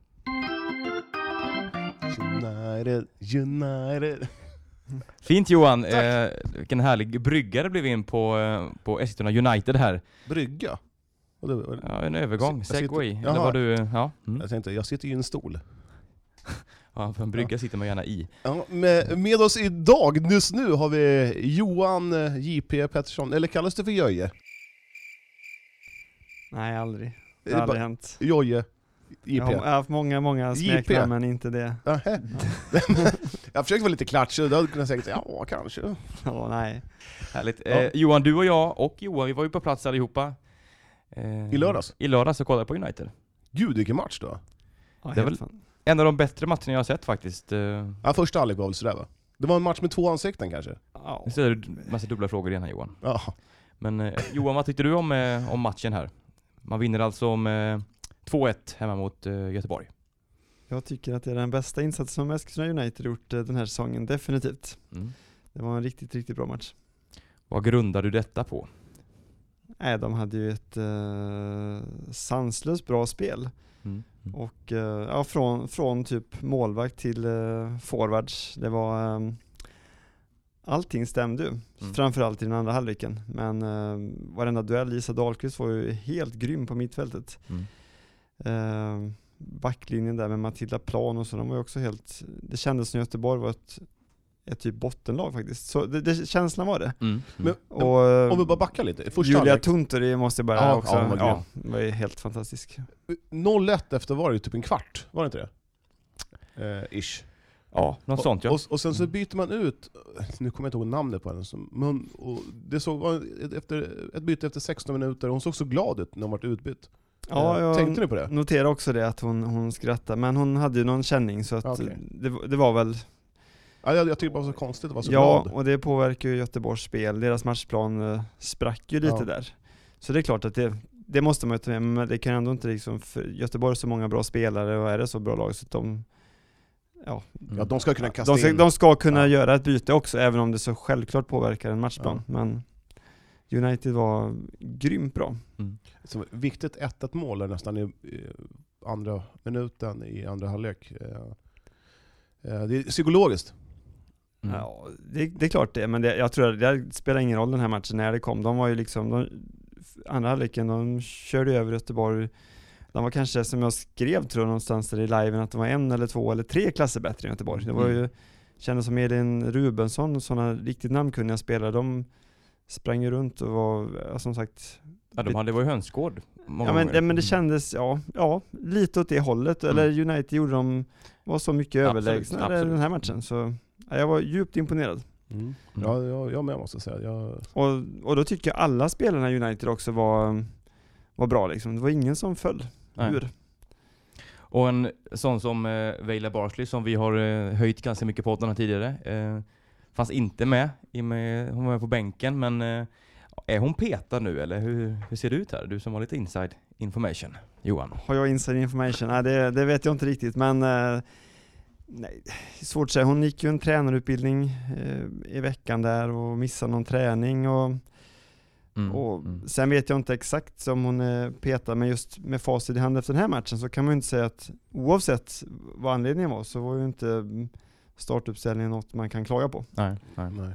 Speaker 2: United, United.
Speaker 3: Fint Johan, eh, vilken härlig brygga det blev in på, eh, på Eskilstuna United här.
Speaker 2: Brygga? Och det, var-
Speaker 3: Ja, en övergång,
Speaker 2: Jag sitter-
Speaker 3: segway. Eller
Speaker 2: Jaha.
Speaker 3: vad du, ja. Mm.
Speaker 2: jag tänkte, jag sitter ju i en stol.
Speaker 3: ja, för en brygga sitter man gärna i.
Speaker 2: Ja, med, med oss idag, just nu, har vi Johan eh, JP Pettersson, eller kallas du för Jöje?
Speaker 6: Nej, aldrig.
Speaker 2: Det
Speaker 6: Det
Speaker 2: är
Speaker 6: har
Speaker 2: bara-
Speaker 6: aldrig hänt.
Speaker 2: Joje?
Speaker 6: Jag har,
Speaker 2: JP?
Speaker 6: jag har haft många, många
Speaker 2: JP.
Speaker 6: smeknamn men inte det.
Speaker 2: Nähä. jag försökte vara lite klatschig, då hade jag kunnat säga ja, kanske.
Speaker 6: Ja, nej.
Speaker 3: Härligt.
Speaker 2: Ja.
Speaker 3: Eh, Johan, du och jag och Johan, vi var ju på plats allihopa. Eh,
Speaker 2: I lördags?
Speaker 3: I lördags och kollade på United.
Speaker 2: Gud vilken match då.
Speaker 6: Ja,
Speaker 3: Det är
Speaker 6: helt fan.
Speaker 3: En av de bättre matcherna jag har sett faktiskt. Eh,
Speaker 2: Ja, första halvlek var väl sådär va? Det var en match med två ansikten kanske?
Speaker 6: Ja.
Speaker 3: nu ställer du massa dubbla frågor igen här Johan.
Speaker 2: Ja.
Speaker 3: Men eh, Johan, vad tyckte du om, eh, om matchen här? Man vinner alltså med eh, 2-1 hemma mot eh, Göteborg.
Speaker 6: Jag tycker att det är den bästa insatsen som Eskilstuna United gjort eh, den här säsongen, definitivt.
Speaker 3: Mm.
Speaker 6: Det var en riktigt, riktigt bra match.
Speaker 3: Vad grundar du detta på?
Speaker 6: Nej, de hade ju ett eh, sanslöst bra spel.
Speaker 3: Mm. Mm.
Speaker 6: Och, eh, ja, från, från typ målvakt till eh, forwards. Det var, eh, allting stämde ju. Framförallt i den andra halvleken. Men eh, varenda duell, Lisa Dahlqvist var ju helt grym på mittfältet.
Speaker 3: Mm.
Speaker 6: Eh, backlinjen där med Matilda Plan och så, de var ju också helt, det kändes som Göteborg var ett, ett typ bottenlag faktiskt. Så det, det, känslan var det.
Speaker 3: Mm.
Speaker 2: Men,
Speaker 3: Mm.
Speaker 6: Och, eh,
Speaker 2: om vi bara backar lite. Första
Speaker 6: Julia
Speaker 2: halvlek.
Speaker 6: Tunturi måste jag bara
Speaker 2: Ja,
Speaker 6: också,
Speaker 2: ja, Eh, hon var
Speaker 6: ja,
Speaker 2: grym.
Speaker 6: var ju helt fantastisk.
Speaker 2: 0-1 efter var det ju typ en kvart, var det inte det? Eh, ish.
Speaker 3: Ja, något sånt ja.
Speaker 2: Och, och sen så byter man ut, nu kommer jag inte ihåg namnet på henne, som- men hon, och det såg, var efter, ett byte efter 16 minuter, hon såg så glad ut när hon vart utbytt.
Speaker 6: Ja,
Speaker 2: Eh,
Speaker 6: jag-
Speaker 2: Tänkte ni på det?
Speaker 6: Notera också det att hon, hon skrattade, men hon hade ju någon känning så att
Speaker 2: Okej.
Speaker 6: det, det var väl
Speaker 2: Ja, jag, jag tyckte bara det var så konstigt att vara så
Speaker 6: Ja,
Speaker 2: glad.
Speaker 6: och det påverkar ju Göteborgs spel. Deras matchplan eh, sprack ju lite
Speaker 2: Ja.
Speaker 6: där. Så det är klart att det, det måste man ju ta med, men det kan ändå inte liksom, för Göteborg har så många bra spelare och är det så bra lag så att de, Mm. ja,
Speaker 2: Ja, de ska kunna kasta
Speaker 6: de ska,
Speaker 2: in.
Speaker 6: de ska kunna
Speaker 2: Ja.
Speaker 6: göra ett byte också, även om det så självklart påverkar en matchplan. Men United var grymt bra.
Speaker 3: Mm.
Speaker 2: Så viktigt 1-1 mål där nästan i eh, andra minuten i andra halvlek. Eh, eh, Det är psykologiskt.
Speaker 3: Mm.
Speaker 6: Ja, det, det är klart det, men det, jag tror att det spelar ingen roll den här matchen när det kom. De var ju liksom, de, andra halvleken, de körde ju över Göteborg. De var kanske, som jag skrev tror jag någonstans där i liven, att de var en eller två eller tre klasser bättre än Göteborg. Det var
Speaker 3: Mm.
Speaker 6: ju, kändes som Elin Rubensson och sådana riktigt namnkunniga spelare, de sprang ju runt och var, ja, som sagt,
Speaker 3: ja de hade, det var ju hönsgård. många
Speaker 6: ja men,
Speaker 3: gånger.
Speaker 6: ja, men det
Speaker 3: Mm.
Speaker 6: kändes, ja, ja, lite åt det hållet. Eller United gjorde de, var så mycket
Speaker 3: Absolut,
Speaker 6: överlägsna
Speaker 3: absolut.
Speaker 6: den här matchen. Så ja, jag var djupt imponerad.
Speaker 2: Mm. Ja, jag, jag med måste jag säga. Jag,
Speaker 6: Och, och då tycker jag alla spelarna i United också var, var bra liksom. Det var ingen som föll
Speaker 3: Nej.
Speaker 6: ur.
Speaker 3: Och en sån som eh, Vejla Barsley som vi har eh, höjt ganska mycket på podden här tidigare. Eh, fanns inte med, i och med, hon var med på bänken men eh, är hon petad nu eller hur, hur ser det ut här? Du som har lite inside information, Johan.
Speaker 6: Har jag inside information? Nej, det, det vet jag inte riktigt men eh, nej, svårt att säga. Hon gick ju en tränarutbildning eh, i veckan där och missade någon träning och
Speaker 3: Mm.
Speaker 6: Och
Speaker 3: Mm.
Speaker 6: Sen vet jag inte exakt som hon eh, petar, men just med facit i hand efter den här matchen så kan man ju inte säga att oavsett vad anledningen var så var ju inte mm, startuppställningen något man kan klaga på.
Speaker 3: Nej, nej.
Speaker 2: Nej.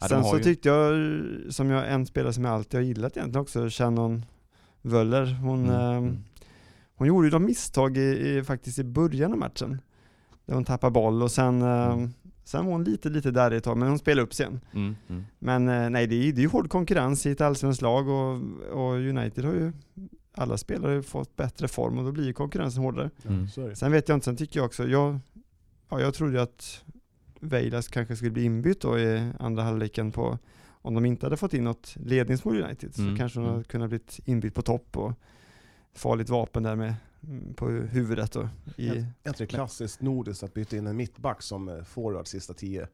Speaker 3: Ja, de
Speaker 6: Sen
Speaker 3: har
Speaker 6: så
Speaker 3: ju-
Speaker 6: tyckte jag, eh, som jag en spelare som jag alltid har gillat egentligen också, Shannon Wöller, hon,
Speaker 3: Mm,
Speaker 6: ehm,
Speaker 3: mm.
Speaker 6: hon gjorde ju de misstag i, i, faktiskt i början av matchen. Där hon tappade boll och sen, ehm,
Speaker 3: Mm.
Speaker 6: sen var hon lite, lite där ett tag, men hon spelade upp sen.
Speaker 3: Mm. Mm.
Speaker 6: Men eh, nej, det är, det är ju hård konkurrens i ett allsvenskt lag och, och United har ju, alla spelare har ju fått bättre form och då blir ju konkurrensen hårdare.
Speaker 3: Mm.
Speaker 2: Så är det.
Speaker 6: Sen vet jag inte, sen tycker jag också, jag, ja, jag trodde ju att Veilas kanske skulle bli inbytt då i andra halvleken på, om de inte hade fått in något ledningsmål United
Speaker 3: Mm,
Speaker 6: så kanske de
Speaker 3: mm.
Speaker 6: hade kunnat blivit inbytt på topp och farligt vapen där med mm, på huvudet då. I,
Speaker 2: Är inte det klassiskt nordiskt att byta in en mittback som eh, forward sista tio?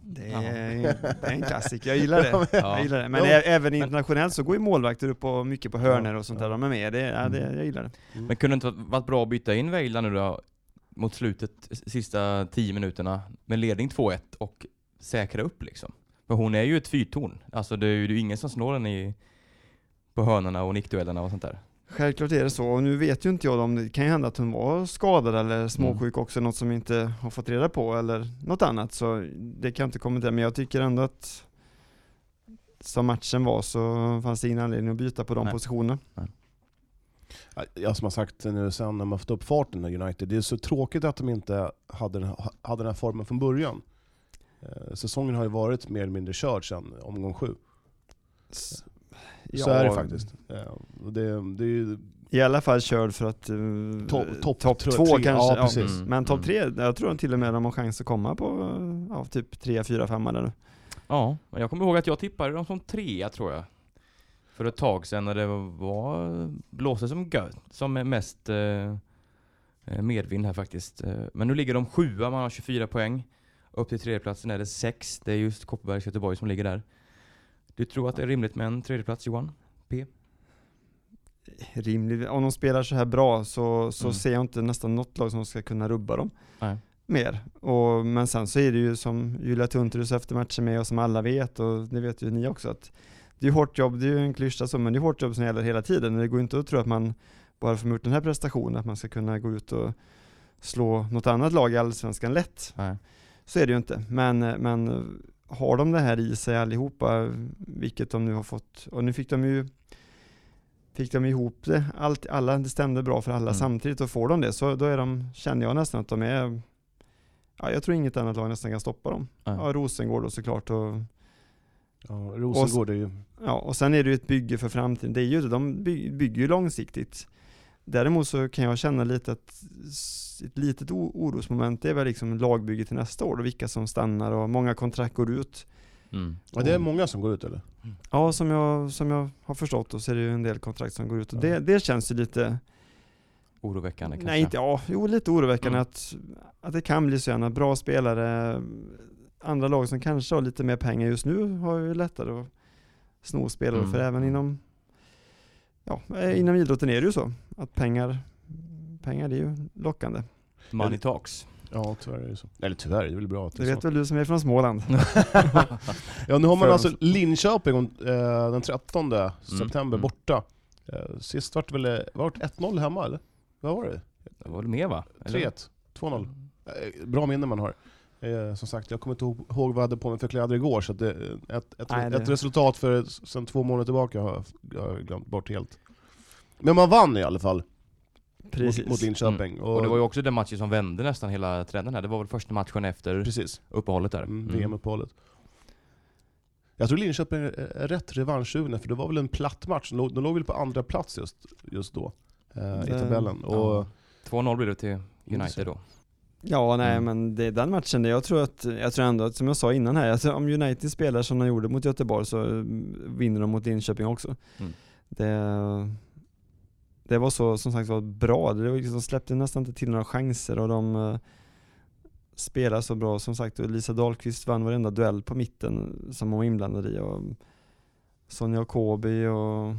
Speaker 6: det,
Speaker 3: Jaha.
Speaker 6: är, det är en klassiker, jag gillar det.
Speaker 3: Ja.
Speaker 6: Jag gillar det. Men
Speaker 2: Ja.
Speaker 6: ä- även internationellt så går ju målvakter upp och mycket på hörner och sånt där. De är med. Det, ja, det,
Speaker 3: Mm.
Speaker 6: jag gillar det.
Speaker 3: Men kunde det inte varit- varit bra att byta in Vejla nu då? Mot slutet, s- sista 10 minuterna, med ledning 2-1 och säkra upp liksom. För hon är ju ett fyrtorn. Alltså det är ju det är ju ingen som snår henne i, på hörnorna och nickduellerna och sånt där.
Speaker 6: Självklart är det så. Och nu vet ju inte jag om det kan ju hända att hon var skadad eller småsjuk
Speaker 3: Mm.
Speaker 6: också. Något som vi inte har fått reda på eller något annat. Så det kan jag inte kommentera. Men jag tycker ändå att som matchen var så fanns det ingen anledning att byta på de
Speaker 3: Nej.
Speaker 6: positionerna.
Speaker 2: Ja, som har sagt nu sen när man fått upp farten i United, det är så tråkigt att de inte hade den, hade den här formen från början. Eh, Säsongen har ju varit mer eller mindre körd sedan omgång sju.
Speaker 6: S-
Speaker 2: Så är det faktiskt. Eh, och Det, det är ju
Speaker 6: I alla fall körd för att eh,
Speaker 2: topp top,
Speaker 6: topp två kanske.
Speaker 2: Ja,
Speaker 6: ja.
Speaker 2: precis.
Speaker 3: Mm.
Speaker 6: Men topp tre, jag tror till och med de har chans att komma på eh, ja, typ tre, fyra, femma där nu.
Speaker 3: Ja, men jag kommer ihåg att jag tippade dem som trea tror jag. För ett tag sedan när det var, blåste som gött, som är mest eh, medvind här faktiskt. Eh, Men nu ligger de sjua, man har 24 poäng. Upp till tredjeplatsen är det sex, det är just Kopparbergs Göteborg som ligger där. Du tror att det är rimligt med en tredjeplats Johan?
Speaker 6: rimligt. Om de spelar så här bra så, så
Speaker 3: Mm.
Speaker 6: ser jag inte nästan något lag som ska kunna rubba dem
Speaker 3: Nej.
Speaker 6: mer. Och, men sen så är det ju som Julia Tunterus efter matchen med och som alla vet och det vet ju ni också att det är hårt jobb, det är ju en klyscha så, men det är hårt jobb som gäller hela tiden. Det går ju inte att tro att man bara för att man gjort den här prestationen, att man ska kunna gå ut och slå något annat lag i Allsvenskan lätt.
Speaker 3: Nej.
Speaker 6: Så är det ju inte. Men, men har de det här i sig allihopa, vilket de nu har fått, och nu fick de ju Fick de ihop det, allt, alla, det stämde bra för alla
Speaker 3: Mm.
Speaker 6: samtidigt och får de det så då är de, känner jag nästan att de är, ja, jag tror inget annat lag nästan kan stoppa dem.
Speaker 3: Nej.
Speaker 6: Ja, Rosengård då såklart och
Speaker 2: Ja, Rosengård är ju...
Speaker 6: Ja, och sen är det ju ett bygge för framtiden. Det är ju det, de by- bygger ju långsiktigt. Däremot så kan jag känna lite att s- ett litet o- orosmoment det är väl liksom lagbygget till nästa år och vilka som stannar och många kontrakt går ut.
Speaker 2: Ja, det är många som går ut eller?
Speaker 6: Ja, som jag, som jag har förstått då så är det ju en del kontrakt som går ut och
Speaker 2: Ja.
Speaker 6: det, det känns ju lite,
Speaker 3: Oroväckande kanske?
Speaker 6: nej inte, ja, jo lite oroväckande
Speaker 3: Mm.
Speaker 6: att, att det kan bli så gärna. Bra spelare, andra lag som kanske har lite mer pengar just nu har ju lättare att sno spelare
Speaker 3: Mm.
Speaker 6: för även inom ja, eh, inom idrotten är det ju så att pengar, pengar det är ju lockande.
Speaker 3: Money talks.
Speaker 2: Ja, tyvärr är det så. Eller tyvärr, det är väl bra att det
Speaker 6: Det
Speaker 2: är
Speaker 6: vet väl du som är från Småland?
Speaker 2: Ja, nu har man
Speaker 6: För-
Speaker 2: alltså Linköping eh, den 13 september
Speaker 3: mm.
Speaker 2: borta. Eh, sist var det väl eh, var det 1-0 hemma eller? Vad var det?
Speaker 3: Det var du med va? Eller?
Speaker 2: 3-1? 2-0? Eh, bra minne man har. Eh, som sagt, jag kommer inte ihåg- ihåg vad jag hade på mig för kläder igår, så att det, eh, ett, ett,
Speaker 6: Nej, det-
Speaker 2: ett resultat för s- sen två månader tillbaka har jag f- jag har glömt bort helt. Men man vann i alla fall mot, mot Linköping. Mm. Och,
Speaker 3: Och det var ju också den matchen som vände nästan hela trenden här. Det var väl första matchen efter
Speaker 2: Precis,
Speaker 3: uppehållet där.
Speaker 2: mm.
Speaker 3: Mm.
Speaker 2: VM-uppehållet. Jag tror Linköping är- är rätt revanschsugna, för det var väl en platt match. De låg, de låg väl på andra plats just, just då, eh, i
Speaker 6: Det-
Speaker 2: tabellen. Och,
Speaker 3: 2-0 blev det till
Speaker 2: så.
Speaker 3: United då.
Speaker 6: Ja, nej
Speaker 3: Mm.
Speaker 6: men det är den matchen. där Jag tror, att, jag tror ändå att, som jag sa innan här, alltså, om United spelar som de gjorde mot Göteborg så mm, vinner de mot Linköping också.
Speaker 3: Mm.
Speaker 6: Det, det var så, som sagt var, bra. Det var liksom, de släppte nästan inte till några chanser och de eh, spelar så bra. Som sagt, och Lisa Dahlqvist vann varenda duell på mitten som hon var inblandad i. Och Sonja Kobi och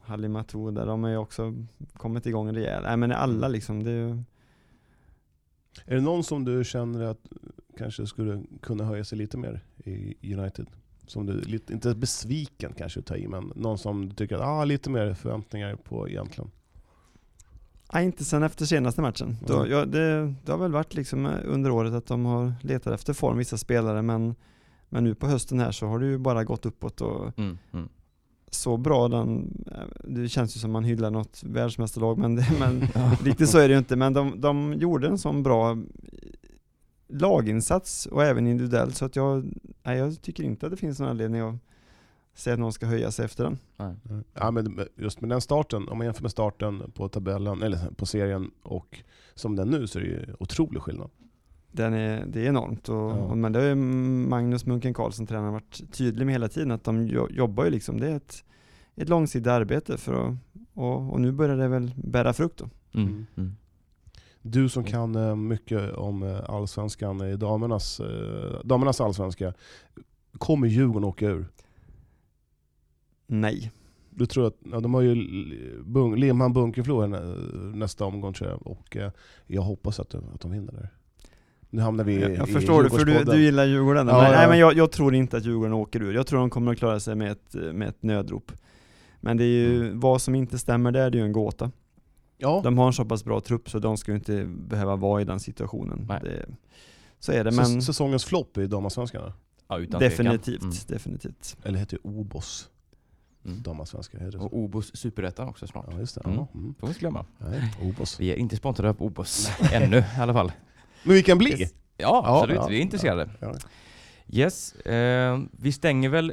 Speaker 6: Halimatou där, de har ju också kommit igång rejält. Nej men alla
Speaker 3: Mm.
Speaker 6: liksom, det är ju
Speaker 2: Är det någon som du känner att kanske skulle kunna höja sig lite mer i United? Som du, lite, inte besviken kanske att ta i, men någon som du tycker att, ah, lite mer förväntningar på egentligen.
Speaker 6: Nej, inte sen efter senaste matchen. Då,
Speaker 2: Mm.
Speaker 6: ja, det, det har väl varit liksom eh, under året att de har letat efter form, vissa spelare, men, men nu på hösten här så har det ju bara gått uppåt och
Speaker 3: Mm, mm.
Speaker 6: så bra den, eh, det känns ju som man hyllar något världsmästarlag, men, det, men riktigt så är det ju inte. Men de, de gjorde en sån bra eh, laginsats och även individuellt, så att jag, nej, jag tycker inte att det finns någon anledning att säga att någon ska höja sig efter den.
Speaker 2: Ja, men just med den starten, om man jämför med starten på tabellen, eller på serien, och som den nu så är det ju otrolig skillnad.
Speaker 6: Den är, det är enormt, och,
Speaker 2: Ja.
Speaker 6: och, men det har ju Magnus Munken Karlsson, tränaren, varit tydlig med hela tiden, att de jo, jobbar ju liksom, det är ett, ett långsiktigt arbete för att, och, och nu börjar det väl bära frukt då.
Speaker 3: Mm, mm.
Speaker 2: Du som kan eh, mycket om eh, allsvenskan, i damernas, eh, damernas allsvenska, kommer Djurgården åka ur?
Speaker 6: Nej.
Speaker 2: Du tror att, ja, de har ju L- Bung, Limhamn Bunkeflo här nä, eh, nästa omgång tror jag, och eh, jag hoppas att, att de vinner där. Nu hamnar vi i
Speaker 6: Jag, jag
Speaker 2: i
Speaker 6: förstår det, för du,
Speaker 2: Djurgårdspodden.
Speaker 6: du gillar Djurgården.
Speaker 2: Ja,
Speaker 6: men,
Speaker 2: ja.
Speaker 6: Nej, men jag, jag tror inte att Djurgården åker ur. Jag tror de kommer att klara sig med ett, med ett nödrop. Men det är ju, vad som inte stämmer där, det är ju en gåta.
Speaker 2: Ja,
Speaker 6: De har en så pass bra trupp så de ska ju inte behöva vara i den situationen.
Speaker 3: Nej.
Speaker 6: Det, så är det,
Speaker 2: men...
Speaker 6: men
Speaker 2: säsongens flopp i damallsvenskan.
Speaker 3: Ja, utan tvekan.
Speaker 6: definitivt,
Speaker 3: Mm.
Speaker 6: definitivt.
Speaker 2: Eller heter ju Obos
Speaker 3: Mm.
Speaker 2: damallsvenska, heter det så?
Speaker 3: Och Obos superettan också snart.
Speaker 2: Ja, just det.
Speaker 3: Mm.
Speaker 2: Ja, mm.
Speaker 3: Får vi inte glömma.
Speaker 2: Nej, Obos.
Speaker 3: Vi är inte sponsrade av Obos ännu i alla fall.
Speaker 2: Men vi kan bli!
Speaker 3: Yes. Ja,
Speaker 2: Ja,
Speaker 3: absolut.
Speaker 2: ja,
Speaker 3: vi är intresserade.
Speaker 2: ja.
Speaker 3: Yes, eh, vi stänger väl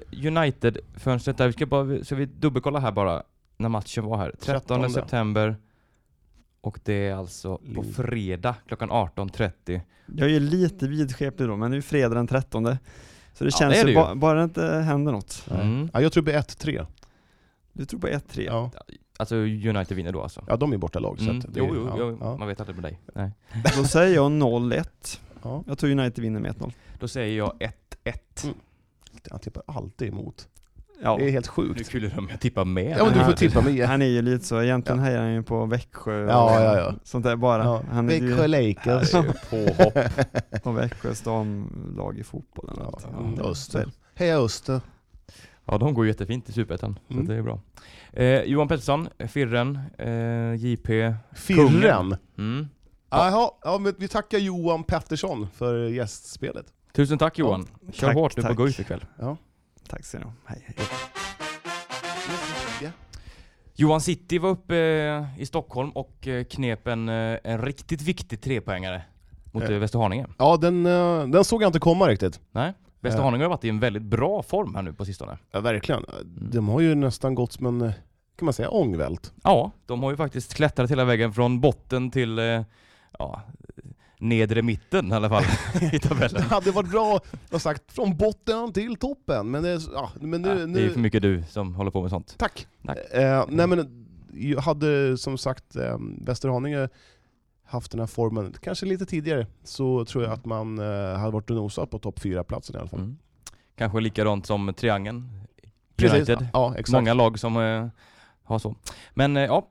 Speaker 3: United-fönstret där. Vi ska, bara, ska vi dubbelkolla här bara, när matchen var här. 13,
Speaker 2: 13.
Speaker 3: september. Och det är alltså på
Speaker 2: Lille.
Speaker 3: fredag klockan 18.30.
Speaker 6: Jag är lite vidskeplig då, men det är ju fredag den 13. Så det
Speaker 3: Ja,
Speaker 6: känns
Speaker 3: det är
Speaker 6: ju,
Speaker 3: det ju.
Speaker 6: ba, bara det inte händer något.
Speaker 2: Nej.
Speaker 3: Mm.
Speaker 2: Ja, jag tror det blir 1-3.
Speaker 6: Du tror på 1-3.
Speaker 2: Ja.
Speaker 3: Alltså United vinner då alltså?
Speaker 2: ja, de är bortalag.
Speaker 3: Mm.
Speaker 2: Så att det,
Speaker 3: Jo, jo,
Speaker 2: ja,
Speaker 3: jo,
Speaker 2: Ja.
Speaker 3: man vet aldrig med dig. Nej.
Speaker 6: Då säger jag 0-1.
Speaker 2: Ja.
Speaker 6: Jag tror United vinner med 1-0.
Speaker 3: Då säger jag 1-1.
Speaker 2: Jag tippar alltid emot.
Speaker 6: Ja.
Speaker 2: Det är helt
Speaker 3: Nu
Speaker 2: sjukt.
Speaker 3: skulle de jag tippa med.
Speaker 2: Ja, men du får
Speaker 6: Nej.
Speaker 2: tippa mig.
Speaker 6: Han är ju lite så, egentligen hejar han ju på Växjö och
Speaker 2: Ja, ja, ja.
Speaker 6: sånt där bara.
Speaker 2: Ja.
Speaker 6: Han är
Speaker 2: Växjö
Speaker 6: ju
Speaker 2: Lakers.
Speaker 3: Det är ju påhopp.
Speaker 6: på Växjös damlag i fotbollen.
Speaker 2: Ja,
Speaker 6: Ja,
Speaker 2: mm,
Speaker 6: det- så är
Speaker 2: Öster.
Speaker 6: det.
Speaker 2: Heja Öster.
Speaker 3: Ja, de går jättefint i Superettan,
Speaker 2: Mm.
Speaker 3: så det är bra. Eh, Johan Pettersson, Firren, eh, JP.
Speaker 2: Firren.
Speaker 3: Kungen. Mm.
Speaker 2: Jaha, ja, men vi tackar Johan Pettersson för gästspelet.
Speaker 3: Tusen tack Johan. Kör
Speaker 6: tack,
Speaker 3: hårt nu
Speaker 6: tack.
Speaker 3: på GUIF ikväll.
Speaker 6: Tack så ni ha. Hej, hej.
Speaker 3: Johan City var uppe eh, i Stockholm och eh, knep en, eh, en riktigt viktig trepoängare mot
Speaker 2: Eh.
Speaker 3: eh, Västerhaninge.
Speaker 2: Ja, den, eh, den såg jag inte komma riktigt.
Speaker 3: Västerhaninge har varit i en väldigt bra form här nu på sistone.
Speaker 2: Ja, verkligen. De har ju nästan gått som en, eh, kan man säga, ångvält.
Speaker 3: Ja, de har ju faktiskt klättrat hela vägen från botten till eh, ja, nedre mitten i alla fall i
Speaker 2: Det
Speaker 3: tabellen.
Speaker 2: hade varit bra att sagt från botten till toppen, men, det, ja, men nu...
Speaker 3: Ja, det är ju för
Speaker 2: nu
Speaker 3: mycket du som håller på med sånt.
Speaker 2: tack.
Speaker 3: Tack. Mm.
Speaker 2: Eh, nej men, jag hade som sagt eh, Västerhaninge haft den här formen kanske lite tidigare, så tror jag att man eh, hade varit och nosat på topp fyra platsen i alla fall.
Speaker 3: Mm. Kanske likadant som triangeln.
Speaker 2: Precis.
Speaker 3: United.
Speaker 2: Ja, exakt.
Speaker 3: Många lag som eh, har så. Men eh, ja,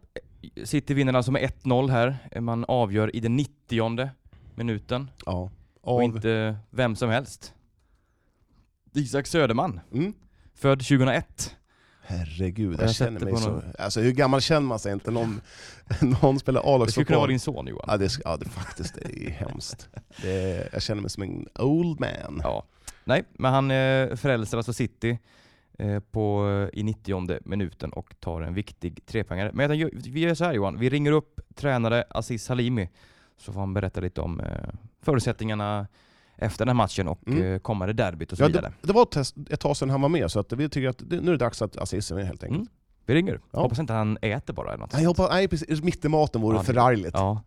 Speaker 3: City vinner alltså med 1-0 här. Eh, Man avgör i den 90 minuten.
Speaker 2: Ja.
Speaker 3: Och
Speaker 2: Av...
Speaker 3: inte vem som helst. Isak Söderman,
Speaker 2: Mm.
Speaker 3: född 2001.
Speaker 2: Herregud,
Speaker 3: Jag
Speaker 2: jag,
Speaker 3: sätter
Speaker 2: känner mig
Speaker 3: på
Speaker 2: så...
Speaker 3: någon-
Speaker 2: Alltså hur gammal känner man sig inte? Någon, någon spelar
Speaker 3: Det skulle kunna vara
Speaker 2: A-lagsfotboll.
Speaker 3: din son Johan.
Speaker 2: Ja, det, sk- ja det, faktiskt, det är hemskt. Det är, jag känner mig som en old man.
Speaker 3: Ja. Nej, men han eh, frälser alltså City eh, på, i 90 minuten och tar en viktig trepoängare. Men jag tänker, vi gör så här Johan, vi ringer upp tränare Aziz Halimi så får han berätta lite om eh, förutsättningarna efter den här matchen och
Speaker 2: Mm.
Speaker 3: eh, kommande derbyt och så
Speaker 2: Ja,
Speaker 3: vidare.
Speaker 2: det, det var ett, test, ett tag sedan han var med, så att vi tycker att det, nu är det dags att Aziz är med helt enkelt.
Speaker 3: Mm. Vi ringer.
Speaker 2: Ja.
Speaker 3: Hoppas inte han äter bara eller något.
Speaker 2: Nej, jag hoppas, nej, precis, mitt i maten vore
Speaker 3: Ja, det-
Speaker 2: förargligt.
Speaker 3: Ja.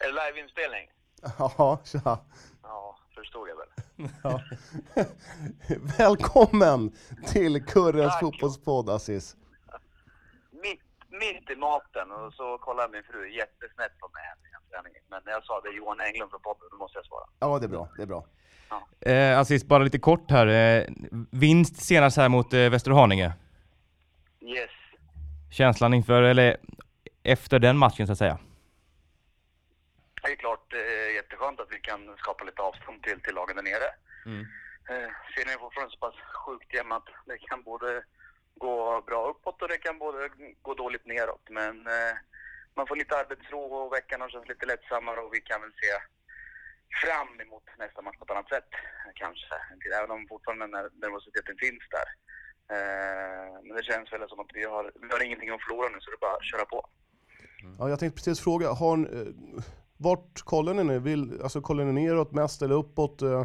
Speaker 7: Är det liveinspelning?
Speaker 2: Ja, tja.
Speaker 7: Ja, förstod jag väl.
Speaker 2: Välkommen till Kurres
Speaker 7: Tack.
Speaker 2: fotbollspodd Aziz.
Speaker 7: Mitt, mitt i maten och så kollar min fru jättesnett på mig här innan träningen. Men när jag sa det är Johan Englund från podden, då måste jag svara.
Speaker 2: Ja, det är bra. Det är bra.
Speaker 3: Eh, Aziz, bara lite kort här. Eh, vinst senast här mot eh, Västerhaninge.
Speaker 7: Yes.
Speaker 3: Känslan inför, eller efter den matchen så att säga.
Speaker 7: Det är klart eh, jätteskönt skönt att vi kan skapa lite avstånd till, till lagen där nere.
Speaker 3: Mm.
Speaker 7: Eh, serien är fortfarande så pass sjukt jämn att det kan både gå bra uppåt och det kan både gå dåligt neråt. Men eh, man får lite arbetsro och veckan har känts lite lättsammare och vi kan väl se fram emot nästa match på ett annat sätt kanske. Även om fortfarande den här nervositeten finns där. Eh, men det känns väl som att vi har, vi har ingenting att förlora nu så det är bara att köra på.
Speaker 3: Mm.
Speaker 2: Ja, jag tänkte precis fråga, har ni, eh, vart kollar ni nu? Vill, alltså, kollar ni neråt mest eller uppåt? Eh,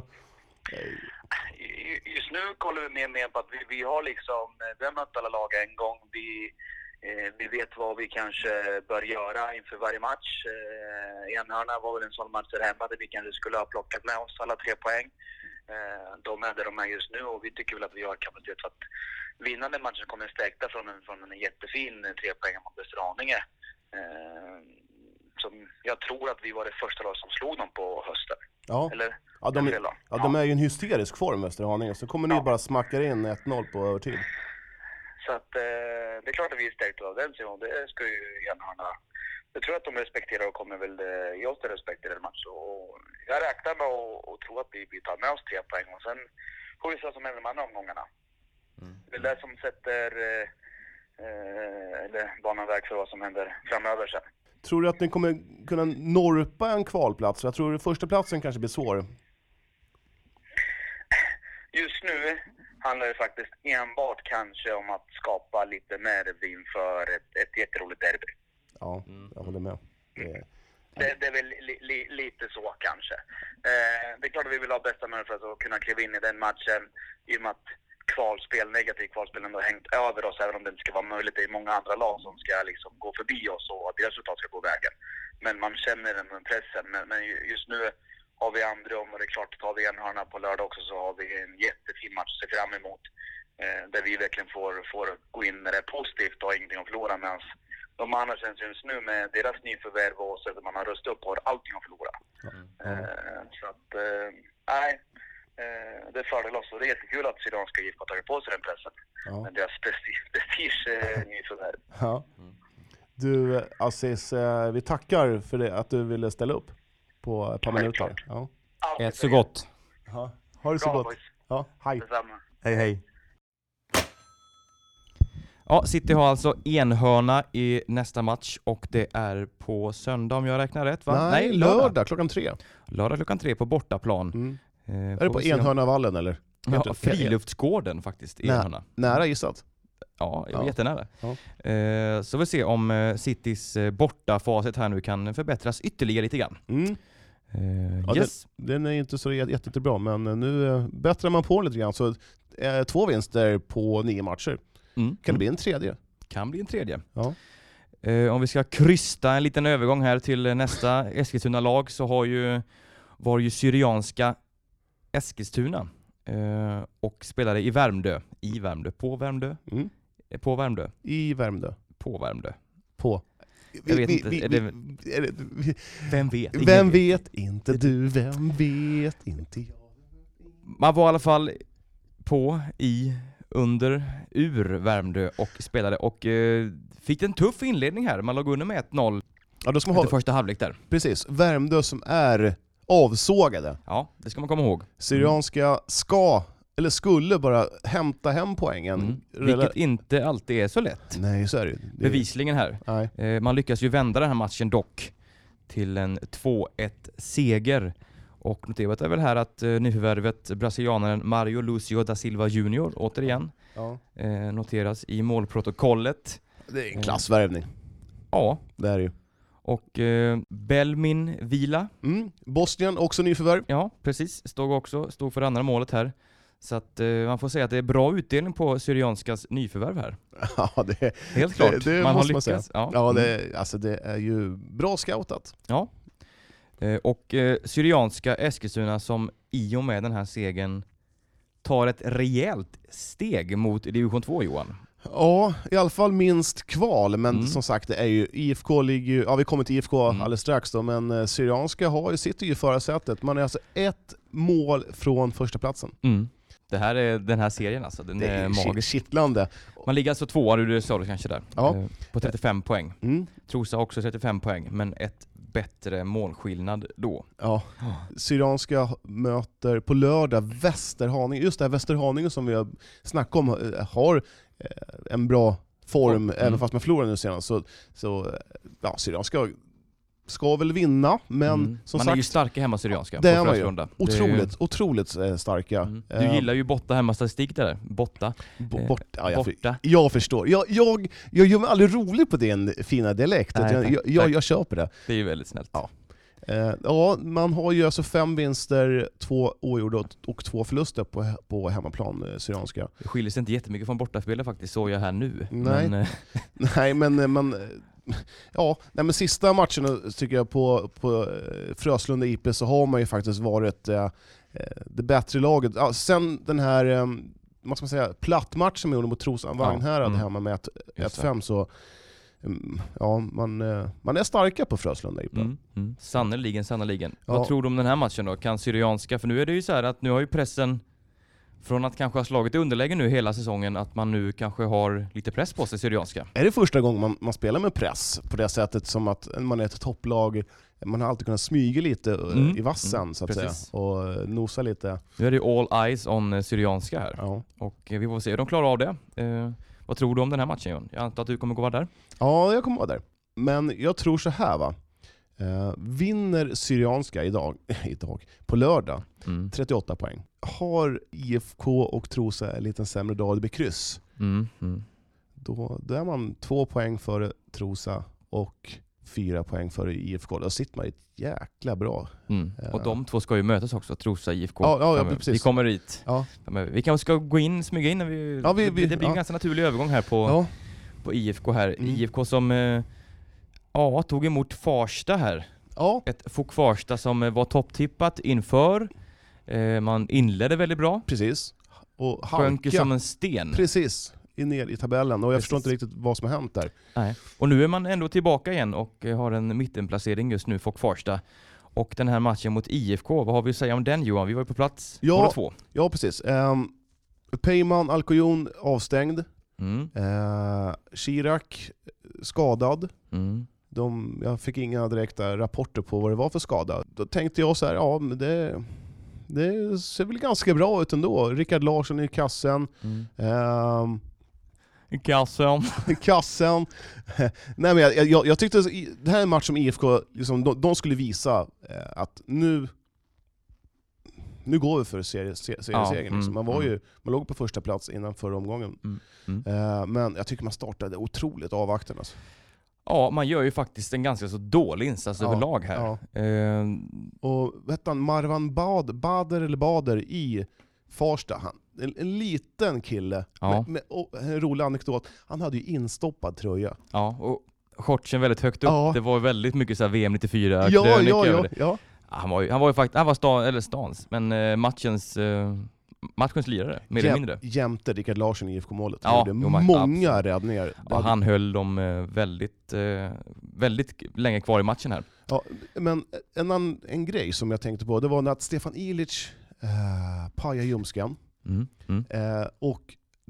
Speaker 7: Ju- Just nu kollar vi mer med på att vi, vi har liksom, eh, vi har mött alla lag en gång. Vi, eh, vi vet vad vi kanske bör göra inför varje match. Eh, Enhörna var väl en sån match där hemma där vi kanske skulle ha plockat med oss alla tre poäng. Eh, de är där de är just nu och vi tycker väl att vi har kapacitet för att vinna den matchen kommer stärkta från en, från en jättefin eh, trepoängare mot Östra Haninge. Eh, som jag tror att vi var det första lag som slog dem på hösten.
Speaker 2: ja.
Speaker 7: Eller?
Speaker 2: Ja, de,
Speaker 7: eller
Speaker 2: är-
Speaker 7: då.
Speaker 2: ja, de är ju i en hysterisk form, Västerhaninge, så kommer ni bara smacka in 1-0 på övertid.
Speaker 7: Så att eh, det är klart att vi är stärkta av den Simon. Det ska ju Enhörna... Jag tror att de respekterar och kommer väl eh, ge oss den respekten i den matchen. alltså. Och jag räknar med och, och tror att vi, vi tar med oss tre poäng och sen får vi se vad som händer de andra omgångarna. Det är väl det som sätter eh, eh, eller banan väg för vad som händer framöver sen.
Speaker 2: Tror du att ni kommer kunna norpa en kvalplats? Jag tror att första platsen kanske blir svår.
Speaker 7: Just nu handlar det faktiskt enbart kanske om att skapa lite nerv inför ett, ett jätteroligt derby.
Speaker 2: Ja,
Speaker 3: Mm.
Speaker 2: jag håller med. Eh,
Speaker 7: Det, det är väl li, li, lite så kanske. Eh, det är klart att vi vill ha bästa möjlighet för att kunna kliva in i den matchen i och med att kvalspel, negativ kvalspel ändå har hängt över oss även om det inte ska vara möjligt. Det är många andra lag som ska liksom gå förbi oss och att deras resultat ska gå vägen. Men man känner den pressen. Men, men ju- just nu har vi andrum och det är klart, tar vi enhörna på lördag också så har vi en jättefin match att se fram emot. Eh, där vi verkligen får, får gå in med det positivt och har ingenting att förlora medan de andra känns just nu med deras nyförvärv och sättet man har rustat upp har allting att förlora. Eh, så att, eh, nej. Eh, det är fördel oss och det är jättekul att Syrianska IFK har tagit på sig den pressen.
Speaker 2: Ja.
Speaker 7: Men deras presti- prestige eh, nyförvärv.
Speaker 2: Ja. Du, eh, Aziz, eh, vi tackar för det, att du ville ställa upp på ett par minuter. Ja.
Speaker 7: Allt
Speaker 3: Ät
Speaker 7: är
Speaker 3: så gott.
Speaker 2: Ja. Ha det så
Speaker 7: Bra
Speaker 2: gott.
Speaker 7: boys,
Speaker 2: Ja, hej.
Speaker 7: detsamma.
Speaker 3: Hej hej. Ja, City har alltså enhörna i nästa match och det är på söndag om jag räknar rätt va?
Speaker 2: Nej, lördag klockan tre.
Speaker 3: Lördag klockan tre på bortaplan.
Speaker 2: Mm.
Speaker 3: Eh,
Speaker 2: Är det på Enhörnavallen eller?
Speaker 3: Ja, friluftsgården faktiskt, i
Speaker 2: Nej.
Speaker 3: Enhörna.
Speaker 2: Nära gissat.
Speaker 3: Ja, jag var
Speaker 2: Ja.
Speaker 3: jättenära.
Speaker 2: Ja.
Speaker 3: Eh, så vi får se om eh, Citys eh, bortafacit här nu kan förbättras ytterligare lite grann.
Speaker 2: Mm.
Speaker 3: Eh,
Speaker 2: Ja, det-
Speaker 3: yes.
Speaker 2: Den är inte så jätte- jätte- jättebra, men eh, nu eh, bättrar man på lite grann. Så eh, två vinster på nio matcher.
Speaker 3: Mm.
Speaker 2: Kan det bli en tredje?
Speaker 3: kan bli en tredje.
Speaker 2: Ja.
Speaker 3: Eh, om vi ska krysta en liten övergång här till eh, nästa Eskilstuna-lag så har ju, var ju Syrianska Eskilstuna eh, och spelade i Värmdö. I Värmdö. På Värmdö.
Speaker 2: Mm.
Speaker 3: Eh, På Värmdö.
Speaker 2: I Värmdö.
Speaker 3: På Värmdö.
Speaker 2: På.
Speaker 3: Jag vet inte, är det-
Speaker 2: vi- är det- vi-
Speaker 3: Vem vet? Ingen
Speaker 2: Vem vet inte du, vem vet inte jag?
Speaker 3: Man var i alla fall på, i, under, ur Värmdö och spelade och eh, fick en tuff inledning här. Man låg under med 1-0
Speaker 2: Ja, då ska man
Speaker 3: efter
Speaker 2: ha,
Speaker 3: första halvlek där.
Speaker 2: precis, Värmdö som är avsågade.
Speaker 3: Ja, det ska man komma ihåg.
Speaker 2: Syrianska ska, eller skulle bara hämta hem poängen.
Speaker 3: Mm.
Speaker 2: Rela-
Speaker 3: Vilket inte alltid är så lätt.
Speaker 2: Nej, så är det ju. Det är-
Speaker 3: Bevisligen här.
Speaker 2: Nej.
Speaker 3: Eh, Man lyckas ju vända den här matchen dock till en 2-1 seger. Och noterat är väl här att eh, nyförvärvet brasilianaren Mario Lucio da Silva Junior återigen
Speaker 2: Ja.
Speaker 3: eh, noteras i målprotokollet.
Speaker 2: Det är
Speaker 3: Mm.
Speaker 2: en klassvärvning,
Speaker 3: Ja,
Speaker 2: det är det ju.
Speaker 3: och eh, Belmin Vila,
Speaker 2: Mm. Bosnien, också nyförvärv.
Speaker 3: ja precis, stod också stod för det andra målet här. Så att eh, man får säga att det är bra utdelning på Syrianskas nyförvärv här.
Speaker 2: Ja, det,
Speaker 3: Helt klart.
Speaker 2: det
Speaker 3: man har
Speaker 2: måste man
Speaker 3: lyckats. ja.
Speaker 2: ja det, alltså det är ju bra scoutat.
Speaker 3: Eh, Och eh, Syrianska Eskilstuna som i och med den här segern tar ett rejält steg mot division 2 Johan.
Speaker 2: Ja, i alla fall minst kval, men
Speaker 3: Mm.
Speaker 2: som sagt det är ju, IFK ligger ju, ja vi kommer till IFK
Speaker 3: Mm.
Speaker 2: alldeles strax då, men eh, Syrianska har ju, sitter ju i förarsätet. Man är alltså ett mål från första platsen.
Speaker 3: Det här är den här serien alltså, den
Speaker 2: Mm. Det är
Speaker 3: är
Speaker 2: ju ki-
Speaker 3: magisk.
Speaker 2: kittlande.
Speaker 3: Man ligger alltså tvåa, du sa det kanske där,
Speaker 2: Ja.
Speaker 3: eh, på 35 poäng.
Speaker 2: Mm.
Speaker 3: Trosa också 35 poäng, men ett bättre målskillnad då.
Speaker 2: Ja. Syrianska möter på lördag Västerhaninge. Just det här Västerhaninge som vi har snackat om eh, har eh, en bra form,
Speaker 3: Mm.
Speaker 2: även fast man förlorade nu senast. Så, så eh, ja, Syrianska ska väl vinna, men
Speaker 3: Mm.
Speaker 2: som
Speaker 3: man är ju
Speaker 2: sagt,
Speaker 3: starka hemma Syrianska
Speaker 2: Det
Speaker 3: på
Speaker 2: är man ju.
Speaker 3: Frölunda. Det är ju-
Speaker 2: otroligt, otroligt eh, starka.
Speaker 3: Mm.
Speaker 2: Eh,
Speaker 3: Du gillar ju botta hemmastatistik det där. Botta.
Speaker 2: bo-
Speaker 3: eh,
Speaker 2: bort, ja, jag,
Speaker 3: borta.
Speaker 2: jag förstår. Jag, jag, jag gör mig aldrig rolig på din fina dialekt,
Speaker 3: Nej,
Speaker 2: utan
Speaker 3: tack,
Speaker 2: jag, jag,
Speaker 3: tack.
Speaker 2: jag köper det.
Speaker 3: Det är ju väldigt snällt.
Speaker 2: Ja. Eh, ja, man har ju alltså fem vinster, två oavgjorda och- och två förluster på, he- på hemmaplan, eh, Syrianska.
Speaker 3: Det skiljer sig inte jättemycket från bortaspelet faktiskt, såg jag här nu.
Speaker 2: Nej.
Speaker 3: Men, eh,
Speaker 2: Nej, men, eh, man, eh, ja, nej, men sista matchen eh, tycker jag på, på eh, Fröslunda IP så har man ju faktiskt varit eh, eh, det bättre laget. Ja, sen den här eh, vad ska man säga, plattmatchen med mot Trosan
Speaker 3: Ja,
Speaker 2: Vagnhärad
Speaker 3: mm.
Speaker 2: hemma med ett-
Speaker 3: just det.
Speaker 2: 1-5 så mm, ja, man, eh, man är starka på Fröslunda IP.
Speaker 3: Mm. Mm. Sannerligen, sannerligen.
Speaker 2: Ja.
Speaker 3: Vad tror du om den här matchen då? Kan Syrianska, för nu är det ju så här att nu har ju pressen från att kanske ha slagit i underläge nu hela säsongen, att man nu kanske har lite press på sig Syrianska.
Speaker 2: Är det första gången man, man spelar med press på det sättet som att man är ett topplag, man har alltid kunnat smyga lite eh,
Speaker 3: Mm.
Speaker 2: i vassen
Speaker 3: Mm,
Speaker 2: så att
Speaker 3: precis.
Speaker 2: säga och eh, nosa lite.
Speaker 3: Nu är det ju all eyes on eh, Syrianska här
Speaker 2: Ja.
Speaker 3: och eh, vi får se hur de klarar av det. Eh, vad tror du om den här matchen John? Jag antar att du kommer gå vara där?
Speaker 2: ja, jag kommer vara där. Men jag tror så här va. Eh, vinner Syrianska idag, idag, på lördag,
Speaker 3: Mm.
Speaker 2: 38 poäng. Har IFK och Trosa en liten sämre dag, det blir kryss.
Speaker 3: Mm. Mm.
Speaker 2: Då, då är man två poäng före Trosa och fyra poäng före IFK. Då sitter man i ett jäkla bra
Speaker 3: Mm. Och
Speaker 2: Eh.
Speaker 3: de två ska ju mötas också, Trosa IFK.
Speaker 2: Ja, ja, ja,
Speaker 3: framöver.
Speaker 2: precis.
Speaker 3: Vi kommer dit.
Speaker 2: Ja.
Speaker 3: framöver. Vi kanske ska gå in, smyga in när vi...
Speaker 2: Ja, vi-
Speaker 3: det blir-
Speaker 2: vi-
Speaker 3: det blir
Speaker 2: ja.
Speaker 3: en ganska naturlig övergång här på... på IFK här.
Speaker 2: Mm.
Speaker 3: IFK som eh, ja, tog emot Farsta här.
Speaker 2: ja.
Speaker 3: Ett FOK Farsta som eh, var topptippat inför. Eh, man inledde väldigt bra.
Speaker 2: Precis. Och
Speaker 3: Sjönk ju
Speaker 2: halka.
Speaker 3: som en sten.
Speaker 2: Precis. I- Ner i tabellen. Och jag förstår inte
Speaker 3: Precis.
Speaker 2: riktigt vad som har hänt där.
Speaker 3: Nej. Och nu är man ändå tillbaka igen och eh, har en mittenplacering just nu, FOK Farsta. Och den här matchen mot IFK, vad har vi att säga om den Johan? Vi var ju på plats
Speaker 2: Ja.
Speaker 3: båda två.
Speaker 2: Ja, precis. Um, Peyman Alcoyon avstängd.
Speaker 3: Mm.
Speaker 2: Eh, Chirac skadad.
Speaker 3: Mm.
Speaker 2: De, jag fick inga direkta rapporter på vad det var för skada. Då tänkte jag så här, ja men det, det ser väl ganska bra ut ändå. Rickard Larsson i kassen.
Speaker 3: Mm.
Speaker 2: Ehm,
Speaker 3: Kassan.
Speaker 2: kassen. Nej, men jag, jag, jag tyckte så- i- det här är en match som IFK, liksom, de, de skulle visa eh, att nu nu går vi för serie- se- seriesegern. liksom.
Speaker 3: mm,
Speaker 2: man, var
Speaker 3: mm.
Speaker 2: ju, man låg på första plats innan förra omgången.
Speaker 3: Mm, mm.
Speaker 2: Eh, men jag tycker man startade otroligt avvaktande. Alltså.
Speaker 3: Ja, man gör ju faktiskt en ganska så dålig insats
Speaker 2: Ja,
Speaker 3: överlag Alltså, här.
Speaker 2: Ja.
Speaker 3: Eh,
Speaker 2: Och vad hette han? Marwan Bad, Bader eller Bader i Farsta. Han, en, en liten kille.
Speaker 3: Ja.
Speaker 2: Med, med, och, en rolig anekdot. Han hade ju instoppad tröja.
Speaker 3: Ja, och shortsen väldigt högt upp.
Speaker 2: Ja.
Speaker 3: Det var väldigt mycket så här VM 94
Speaker 2: ja,
Speaker 3: krönika
Speaker 2: ja,
Speaker 3: över
Speaker 2: ja,
Speaker 3: det.
Speaker 2: ja.
Speaker 3: Han var ju, han var ju faktiskt, han var stan, eller stans, men eh, matchens, eh, matchens lirare, mer eller
Speaker 2: Jäm-
Speaker 3: mindre.
Speaker 2: Jämte Rickard Larsson i IFK-målet. Han
Speaker 3: Ja,
Speaker 2: gjorde
Speaker 3: jo, Mark,
Speaker 2: många räddningar.
Speaker 3: Ja, han höll dem eh, väldigt, eh, väldigt länge kvar i matchen här.
Speaker 2: Ja, men en, annan, en grej som jag tänkte på, det var när att Stefan Ilic eh, pajade ljumsken.
Speaker 3: Mm. Mm.
Speaker 2: Eh, och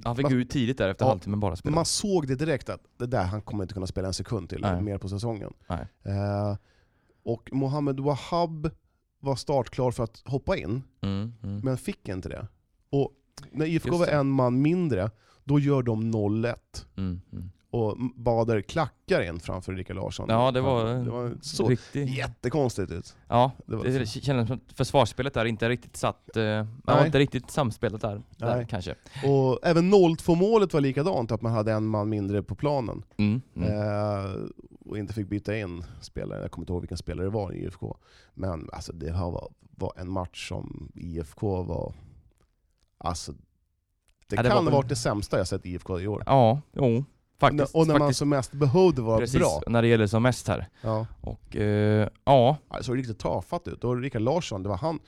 Speaker 3: Han fick
Speaker 2: Man-
Speaker 3: gå ut tidigt där efter
Speaker 2: Ja,
Speaker 3: halvtimmen bara spela.
Speaker 2: man såg det direkt att det där, han kommer inte kunna spela en sekund till
Speaker 3: Nej.
Speaker 2: mer på säsongen.
Speaker 3: Nej.
Speaker 2: Eh, och Mohamed Wahab var startklar för att hoppa in,
Speaker 3: Mm. Mm.
Speaker 2: men fick inte det. Och när IFK
Speaker 3: Just
Speaker 2: var
Speaker 3: det.
Speaker 2: en man mindre, då gör de 0-1.
Speaker 3: Mm. Mm.
Speaker 2: Och Bader klackar in framför Rickard Larsson.
Speaker 3: Ja, det var,
Speaker 2: det var så
Speaker 3: riktigt.
Speaker 2: jättekonstigt ut.
Speaker 3: Ja,
Speaker 2: Det var-
Speaker 3: Mm.
Speaker 2: liksom-
Speaker 3: det kändes som att försvarsspelet där inte riktigt satt, eh, man var
Speaker 2: Nej.
Speaker 3: inte riktigt samspelat där, där
Speaker 2: Nej.
Speaker 3: kanske.
Speaker 2: Och även 0-2-målet var likadant, att man hade en man mindre på planen.
Speaker 3: Mm. Mm.
Speaker 2: Eh, och inte fick byta in spelare. Jag kommer inte ihåg vilken spelare det var i IFK. Men alltså, det här var, var en match som IFK var... Alltså, det,
Speaker 3: Ja,
Speaker 2: kan
Speaker 3: det var
Speaker 2: ha
Speaker 3: väl-
Speaker 2: varit det sämsta jag sett IFK i år.
Speaker 3: Ja, jo. Faktiskt.
Speaker 2: och när man
Speaker 3: faktiskt.
Speaker 2: som mest behövde vara
Speaker 3: Precis,
Speaker 2: bra.
Speaker 3: när det gäller som mest här.
Speaker 2: Ja.
Speaker 3: Och eh, ja,
Speaker 2: Ja, Det såg riktigt tafatt ut. Och Rickard Larsson, det var han...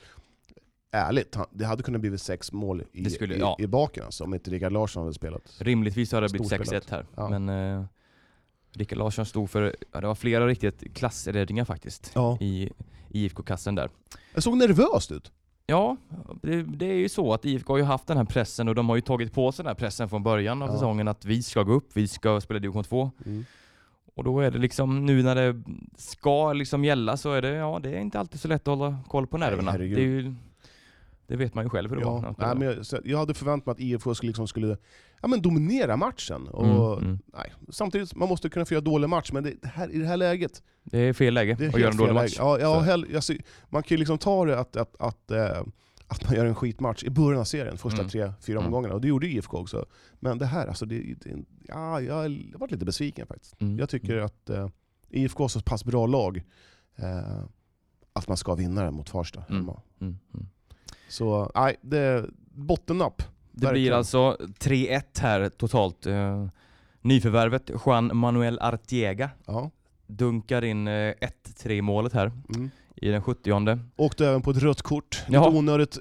Speaker 2: Ärligt, han, det hade kunnat blivit sex mål i,
Speaker 3: Det skulle-
Speaker 2: i,
Speaker 3: ja.
Speaker 2: i baken alltså, om inte Rickard Larsson hade spelat.
Speaker 3: rimligtvis hade det blivit
Speaker 2: Storspelat.
Speaker 3: 6-1 här.
Speaker 2: Ja.
Speaker 3: Men eh, Rickard Larsson stod för, ja, det var flera riktigt klassräddningar faktiskt
Speaker 2: Ja.
Speaker 3: i IFK-kassen där.
Speaker 2: Jag såg nervöst ut.
Speaker 3: Ja, det, det är ju så att IFK har ju haft den här pressen och de har ju tagit på sig den här pressen från början av
Speaker 2: Ja.
Speaker 3: säsongen att vi ska gå upp, vi ska spela Division 2. Och då är det liksom nu när det ska liksom gälla så är det, ja det är inte alltid så lätt att hålla koll på nerverna.
Speaker 2: herregud.
Speaker 3: det, är ju, det vet man ju själv hur det var.
Speaker 2: Ja,
Speaker 3: när man
Speaker 2: nej,
Speaker 3: spelade.
Speaker 2: men jag, så jag hade förväntat mig att IFK skulle, liksom skulle ja, men dominera matchen. Och,
Speaker 3: Mm, mm.
Speaker 2: Nej, samtidigt, man måste kunna få göra dålig match, men det, det här, i det här läget...
Speaker 3: Det är fel läge
Speaker 2: Det är
Speaker 3: att göra en dålig
Speaker 2: fel
Speaker 3: match.
Speaker 2: läge. Ja, ja,
Speaker 3: Så.
Speaker 2: hell, alltså, man kan ju liksom ta det att, att, att, eh, att man gör en skitmatch i början av serien, första
Speaker 3: Mm.
Speaker 2: tre, fyra
Speaker 3: Mm.
Speaker 2: omgångarna. Och det gjorde IFK också. Men det här, alltså, det, det, ja, jag har varit lite besviken faktiskt.
Speaker 3: Mm.
Speaker 2: Jag tycker att eh, IFK är så pass bra lag eh, att man ska vinna den mot Farsta
Speaker 3: Mm.
Speaker 2: hemma.
Speaker 3: Mm, mm.
Speaker 2: Så nej, det är bottennapp.
Speaker 3: Det blir
Speaker 2: Verkligen.
Speaker 3: alltså 3-1 här totalt. Eh, Nyförvärvet Juan Manuel Artiega
Speaker 2: Ja.
Speaker 3: dunkar in eh, 1-3 målet här
Speaker 2: Mm.
Speaker 3: i den 70
Speaker 2: Åkte även på ett rött kort.
Speaker 3: Jaha.
Speaker 2: Lite onödigt.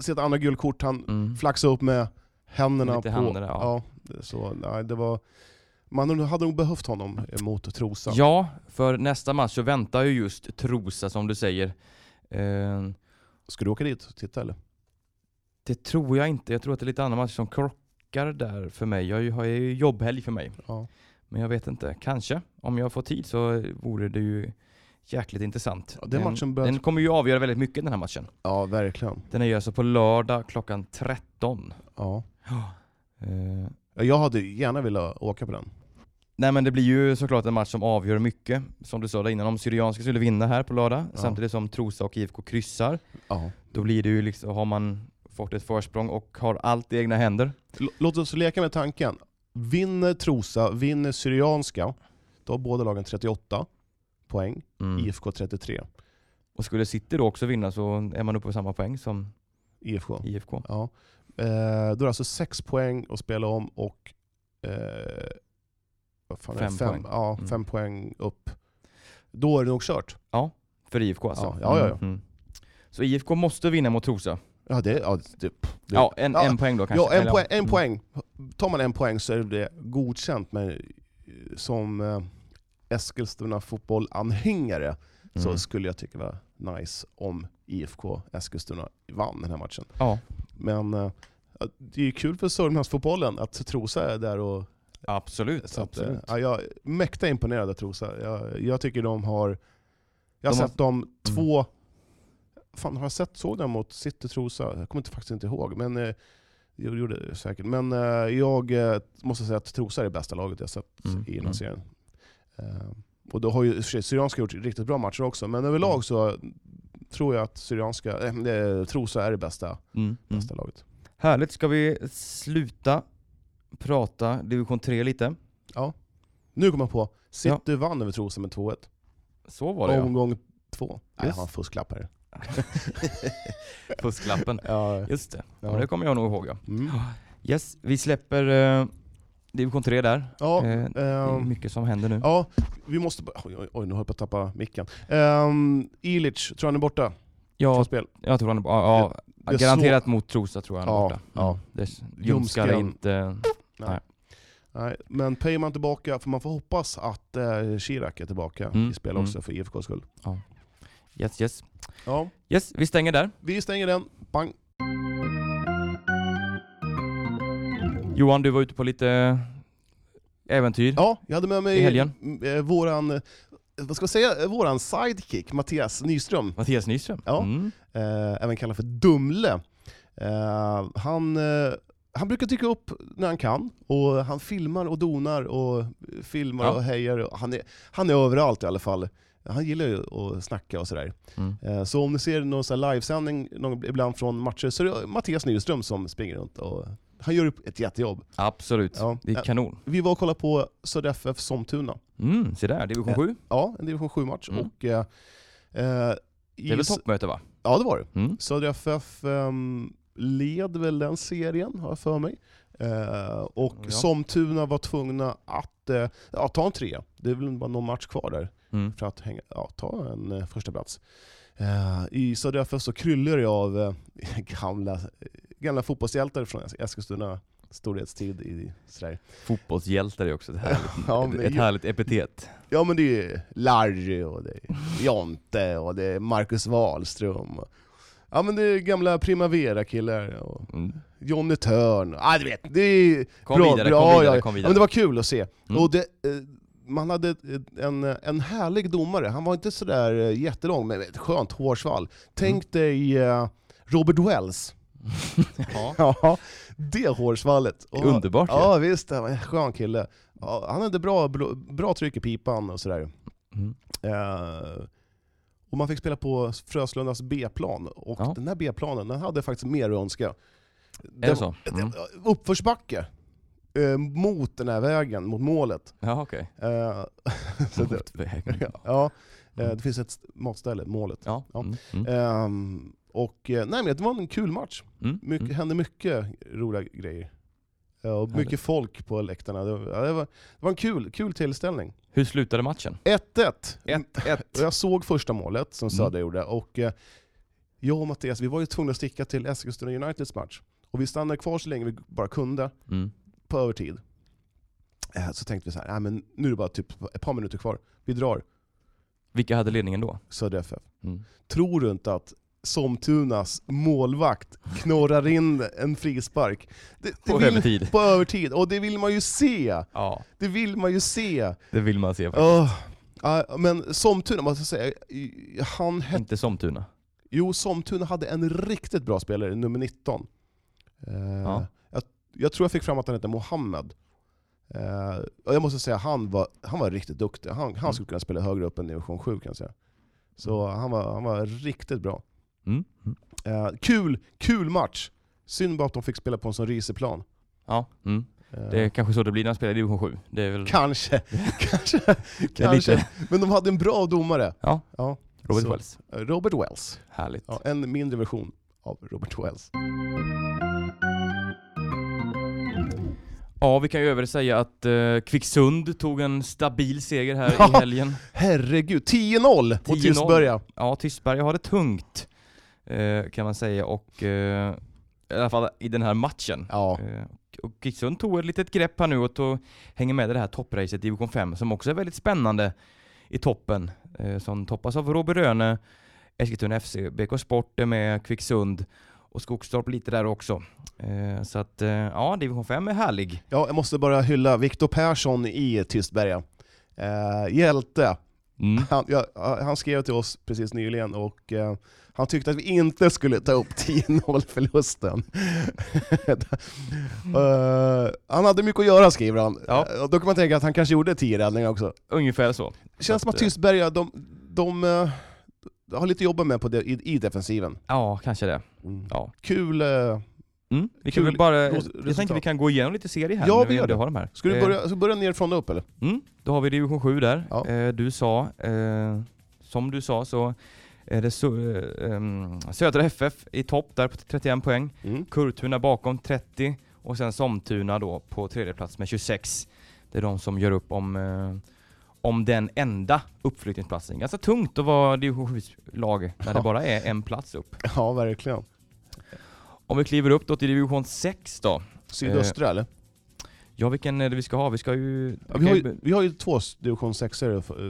Speaker 2: Sett andra gult kort, han
Speaker 3: mm.
Speaker 2: flaxade upp med händerna
Speaker 3: Lite
Speaker 2: på...
Speaker 3: händerna, ja.
Speaker 2: ja, så, nej, det var... Man hade nog behövt honom mot Trosa.
Speaker 3: Ja, för nästa match så väntar ju just Trosa som du säger. Eh,
Speaker 2: Ska du åka dit och titta eller?
Speaker 3: det tror jag inte. Jag tror att det är lite annan match som krockar där för mig. Jag har ju jobbhelg för mig.
Speaker 2: Ja.
Speaker 3: Men jag vet inte. Kanske. Om jag får tid så vore det ju jäkligt intressant.
Speaker 2: Ja, den matchen börjar-
Speaker 3: den kommer ju avgöra väldigt mycket den här matchen.
Speaker 2: Ja, verkligen.
Speaker 3: Den är ju alltså på lördag klockan 13.
Speaker 2: Ja.
Speaker 3: Eh,
Speaker 2: Jag hade gärna velat åka på den.
Speaker 3: nej men det blir ju såklart en match som avgör mycket. Som du sa där innan, om Syrianska skulle vinna här på lördag,
Speaker 2: Ja.
Speaker 3: samtidigt som Trosa och IFK kryssar,
Speaker 2: Ja.
Speaker 3: då blir det ju liksom, har man fått ett försprång och har allt i egna händer.
Speaker 2: L- Låt oss leka med tanken. Vinner Trosa, vinner Syrianska, då har båda lagen 38 poäng,
Speaker 3: Mm.
Speaker 2: IFK 33.
Speaker 3: Och skulle City då också vinna så är man uppe på samma poäng som
Speaker 2: IFK.
Speaker 3: IFK.
Speaker 2: Ja. Eh, då är det alltså sex poäng att spela om och eh, vad fan är det?
Speaker 3: Fem
Speaker 2: fem,
Speaker 3: poäng.
Speaker 2: Ja,
Speaker 3: Mm.
Speaker 2: fem poäng upp. Då är det nog kört.
Speaker 3: För IFK alltså.
Speaker 2: Ja, ja, ja, ja.
Speaker 3: Mm, mm. Så IFK måste vinna mot Trosa.
Speaker 2: Ja, det, ja, det, pff, det,
Speaker 3: Ja, en,
Speaker 2: Ja.
Speaker 3: en poäng då kanske.
Speaker 2: ja en,
Speaker 3: Eller,
Speaker 2: poäng, en
Speaker 3: mm.
Speaker 2: poäng. Tar man en poäng så är det godkänt, men eh, som eh, Eskilstuna fotbollanhängare så
Speaker 3: Mm.
Speaker 2: skulle jag tycka det var nice om IFK Eskilstuna vann den här matchen.
Speaker 3: Ja,
Speaker 2: Men eh, det är ju kul för Sörmlandsfotbollen att Trosa är där och
Speaker 3: absolut.
Speaker 2: Så att, eh,
Speaker 3: absolut.
Speaker 2: ja, jag är mäkta imponerad av Trosa. Jag, jag tycker de har... Jag har
Speaker 3: De har- mm.
Speaker 2: sett dem två... Fan, har jag sett såg den mot City Trosa? Jag kommer inte, faktiskt inte ihåg, men eh, jag gjorde det säkert. Men eh, jag eh, måste säga att Trosa är det bästa laget jag sett
Speaker 3: Mm,
Speaker 2: i den här
Speaker 3: mm.
Speaker 2: serien. Eh, och då har ju i och för sig Syrianska gjort riktigt bra matcher också, men
Speaker 3: Mm.
Speaker 2: överlag så tror jag att Syrianska, eh, det- Trosa är det bästa,
Speaker 3: Mm, mm.
Speaker 2: bästa laget.
Speaker 3: Härligt, ska vi sluta prata division 3 lite?
Speaker 2: Nu kommer jag på, City vann över Trosa med 2-1.
Speaker 3: Så var det ja.
Speaker 2: Omgång två. Nej,
Speaker 3: Just.
Speaker 2: jag har en fusklapp här.
Speaker 3: Fusklappen.
Speaker 2: Ja,
Speaker 3: Just det, ja.
Speaker 2: Ja.
Speaker 3: det kommer jag nog ihåg ja.
Speaker 2: mm.
Speaker 3: Yes, vi släpper eh, division 3 där.
Speaker 2: ja,
Speaker 3: Eh, Det är
Speaker 2: ehm,
Speaker 3: mycket som händer nu.
Speaker 2: ja vi måste... bara- Oj, oj, oj, nu höll jag på att tappa micken. Um, Ilic, tror han är borta från
Speaker 3: Ja,
Speaker 2: spel?
Speaker 3: jag tror han är borta. Ja, ja,
Speaker 2: jag
Speaker 3: garanterat mot Trosa tror jag han är
Speaker 2: Ja,
Speaker 3: borta. Mm.
Speaker 2: ja.
Speaker 3: Det ljumskar
Speaker 2: Ljumsken.
Speaker 3: inte.
Speaker 2: Nej, men Peyman tillbaka, för man får hoppas att eh, Chirac är tillbaka
Speaker 3: Mm,
Speaker 2: i spel
Speaker 3: mm.
Speaker 2: också för IFKs skull.
Speaker 3: Yes, yes.
Speaker 2: Ja,
Speaker 3: Yes, vi stänger där.
Speaker 2: vi stänger den.
Speaker 3: Mm.
Speaker 2: Bang.
Speaker 3: Johan, du var ute på lite eh, äventyr.
Speaker 2: Ja, jag hade med mig
Speaker 3: I helgen.
Speaker 2: m- eh, våran, eh, vad ska jag säga, eh, våran sidekick Mattias Nyström.
Speaker 3: Mattias Nyström.
Speaker 2: Ja.
Speaker 3: Mm.
Speaker 2: eh, även kallad för Dumle. Eh, han, eh, han brukar dyka upp när han kan, och han filmar och donar och filmar
Speaker 3: Ja.
Speaker 2: och hejar. Och Han är, han är överallt i alla fall. Han gillar ju att snacka och sådär.
Speaker 3: Mm.
Speaker 2: Eh, Så om ni ser någon sån här livesändning någon, ibland från matcher så är det Mattias Nyström som springer runt och han gör upp ett jättejobb.
Speaker 3: Absolut,
Speaker 2: Ja.
Speaker 3: det är kanon.
Speaker 2: Vi var och kollade på Södra FF Somtuna.
Speaker 3: Mm, se där, division
Speaker 2: Ja.
Speaker 3: 7.
Speaker 2: Ja, en division 7-match.
Speaker 3: Mm.
Speaker 2: Och, eh, eh,
Speaker 3: Det är väl
Speaker 2: i-
Speaker 3: toppmöte va?
Speaker 2: Ja det var det.
Speaker 3: Mm.
Speaker 2: Södra FF ehm, led väl den serien, har jag för mig. Eh, och
Speaker 3: Ja.
Speaker 2: Somtuna var tvungna att eh, ja, ta en trea. Det är väl bara någon match kvar där
Speaker 3: Mm.
Speaker 2: för att hänga, ja, ta en eh, första plats. Eh, I Södra FF så kryllar det av eh, gamla, gamla fotbollshjältar från Eskilstuna storhetstid. I, sådär.
Speaker 3: Fotbollshjälte är det också, ett härligt,
Speaker 2: Ja, men
Speaker 3: ett,
Speaker 2: det-
Speaker 3: ett härligt epitet.
Speaker 2: Ja men det är ju Larry och det är Jonte och det är Marcus Wahlström. och- Ja men det är gamla Primavera-killar. Och,
Speaker 3: Mm.
Speaker 2: Johnny Törn. Ja, du vet. Det är
Speaker 3: Kom
Speaker 2: bra,
Speaker 3: vidare,
Speaker 2: bra,
Speaker 3: kom vidare,
Speaker 2: ja.
Speaker 3: kom
Speaker 2: Ja, men
Speaker 3: vidare.
Speaker 2: det var kul att se.
Speaker 3: Mm.
Speaker 2: Och det, eh, man hade eh, en, en härlig domare, han var inte sådär eh, jättelång, men ett skönt hårsvall. Tänk
Speaker 3: Mm.
Speaker 2: dig eh, Robert Wells.
Speaker 3: Ja.
Speaker 2: Ja, det hårsvallet. Och-
Speaker 3: Underbart ju.
Speaker 2: Ja visst, han var en skön kille. Ja, han hade bra, bra, bra tryck i pipan och sådär.
Speaker 3: Mm.
Speaker 2: Eh, och man fick spela på Fröslundas B-plan, och
Speaker 3: Ja.
Speaker 2: den här B-planen den hade faktiskt mer att önska.
Speaker 3: Är det så? Mm.
Speaker 2: Uppförsbacke eh, mot den här vägen, mot målet.
Speaker 3: Ja, okej.
Speaker 2: Eh, så det,
Speaker 3: Motvägen.
Speaker 2: ja, eh, det finns ett st- matställe, målet.
Speaker 3: Ja.
Speaker 2: Ja.
Speaker 3: Mm. Mm.
Speaker 2: Ehm, och eh, nej, men det var en kul match.
Speaker 3: Mm.
Speaker 2: Mycket,
Speaker 3: Mm.
Speaker 2: hände mycket roliga grejer. Ja, och
Speaker 3: Härligt.
Speaker 2: mycket folk på läktarna. Det var, ja, det var, det var en kul, kul tillställning.
Speaker 3: Hur slutade matchen?
Speaker 2: 1-1.
Speaker 3: 1-1.
Speaker 2: Och Jag såg första målet som
Speaker 3: Mm.
Speaker 2: Södra gjorde och eh, jag och Mattias vi var ju tvungna att sticka till Eskilstuna Uniteds match. Och vi stannade kvar så länge vi bara kunde
Speaker 3: Mm.
Speaker 2: på övertid. Eh, Så tänkte vi så här, "Nej, men nu är det bara typ ett par minuter kvar. Vi drar
Speaker 3: Vilka hade ledningen då?
Speaker 2: Södra FF.
Speaker 3: Mm.
Speaker 2: Tror du inte att Somtunas målvakt knorrar in en frispark? Det, det
Speaker 3: På
Speaker 2: vill-
Speaker 3: övertid.
Speaker 2: På övertid. Och det vill man ju se!
Speaker 3: Ja,
Speaker 2: Det vill man ju se!
Speaker 3: det vill man se.
Speaker 2: Åh, ja, men Somtuna, måste jag säga, i- han hette
Speaker 3: Inte Somtuna.
Speaker 2: Jo, Somtuna hade en riktigt bra spelare, nummer 19. Eh,
Speaker 3: Ja.
Speaker 2: jag, jag tror jag fick fram att han hette Mohammed. Eh, och jag måste säga, han var, han var riktigt duktig. Han, han skulle kunna spela högre upp än division 7 kan jag säga. Så han var, han var riktigt bra.
Speaker 3: Mm. Mm.
Speaker 2: Eh, kul, kul match! Synd bara att de fick spela på en sån risig plan.
Speaker 3: Ja, mm.
Speaker 2: Eh,
Speaker 3: det är kanske så det blir när man spelar i division 7. Det är väl
Speaker 2: Kanske, kanske,
Speaker 3: det är
Speaker 2: kanske.
Speaker 3: lite
Speaker 2: Men de hade en bra domare.
Speaker 3: Ja.
Speaker 2: ja.
Speaker 3: Robert
Speaker 2: Så,
Speaker 3: Wells.
Speaker 2: eh, Robert Wells.
Speaker 3: Härligt.
Speaker 2: Ja, en mindre version av Robert Wells.
Speaker 3: Ja, vi kan ju övrigt säga att eh, Kvicksund tog en stabil seger här i
Speaker 2: Ja.
Speaker 3: helgen.
Speaker 2: Herregud, 10-0 på
Speaker 3: 10-0.
Speaker 2: Tystberga.
Speaker 3: Ja, Tystberga har det tungt eh, kan man säga och eh, i alla fall i den här matchen.
Speaker 2: Ja.
Speaker 3: Eh, och Kvicksund tog ett litet grepp här nu och tog, hänger med i det här toppracet i division 5 som också är väldigt spännande i toppen. Eh, som toppas av Robert Röne, Eskilstuna FC, BK Sport är med, Kvicksund och Skogstorp lite där också. Eh, så att eh, ja, division 5 är härlig.
Speaker 2: ja, jag måste bara hylla Viktor Persson i Tystberga. Eh, hjälte.
Speaker 3: Mm.
Speaker 2: Han, ja, han skrev till oss precis nyligen och eh, han tyckte att vi inte skulle ta upp 10-0-förlusten. Eh, han hade mycket att göra skriver han.
Speaker 3: Ja.
Speaker 2: Eh, och då kan man tänka att han kanske gjorde 10 räddningar också.
Speaker 3: Ungefär så.
Speaker 2: Känns som att
Speaker 3: eh,
Speaker 2: Tystberga, de, de, eh, har lite att jobba med på det, i, i defensiven. Mm.
Speaker 3: Ja, kanske det. Mm. Ja.
Speaker 2: Kul. eh,
Speaker 3: Mm. Vi
Speaker 2: Kul
Speaker 3: kan väl bara,
Speaker 2: ros-
Speaker 3: jag tänkte vi
Speaker 2: resultat.
Speaker 3: kan gå igenom lite serie här.
Speaker 2: Ja,
Speaker 3: när
Speaker 2: vi gör
Speaker 3: ändå
Speaker 2: det.
Speaker 3: Har de här.
Speaker 2: Ska du
Speaker 3: Eh,
Speaker 2: börja, ska du börja nerifrån och upp eller?
Speaker 3: Mm, då har vi division 7 där.
Speaker 2: Ja.
Speaker 3: Eh, du sa, eh, som du sa så är det Sö- eh, ehm, Södra FF i topp där på 31 poäng.
Speaker 2: Mm.
Speaker 3: Kurtuna bakom 30 och sen Somtuna då på tredje plats med 26. Det är de som gör upp om, eh, om den enda uppflyttningsplatsen. Ganska tungt att vara division 7-lag när det
Speaker 2: Ja.
Speaker 3: bara är en plats upp.
Speaker 2: Ja, verkligen.
Speaker 3: Om vi kliver upp då till division 6 då.
Speaker 2: Sydöstra
Speaker 3: Eh.
Speaker 2: eller?
Speaker 3: Ja, vilken är det vi ska ha? Vi ska ju...
Speaker 2: Ja, vi, har ju, vi har ju två division 6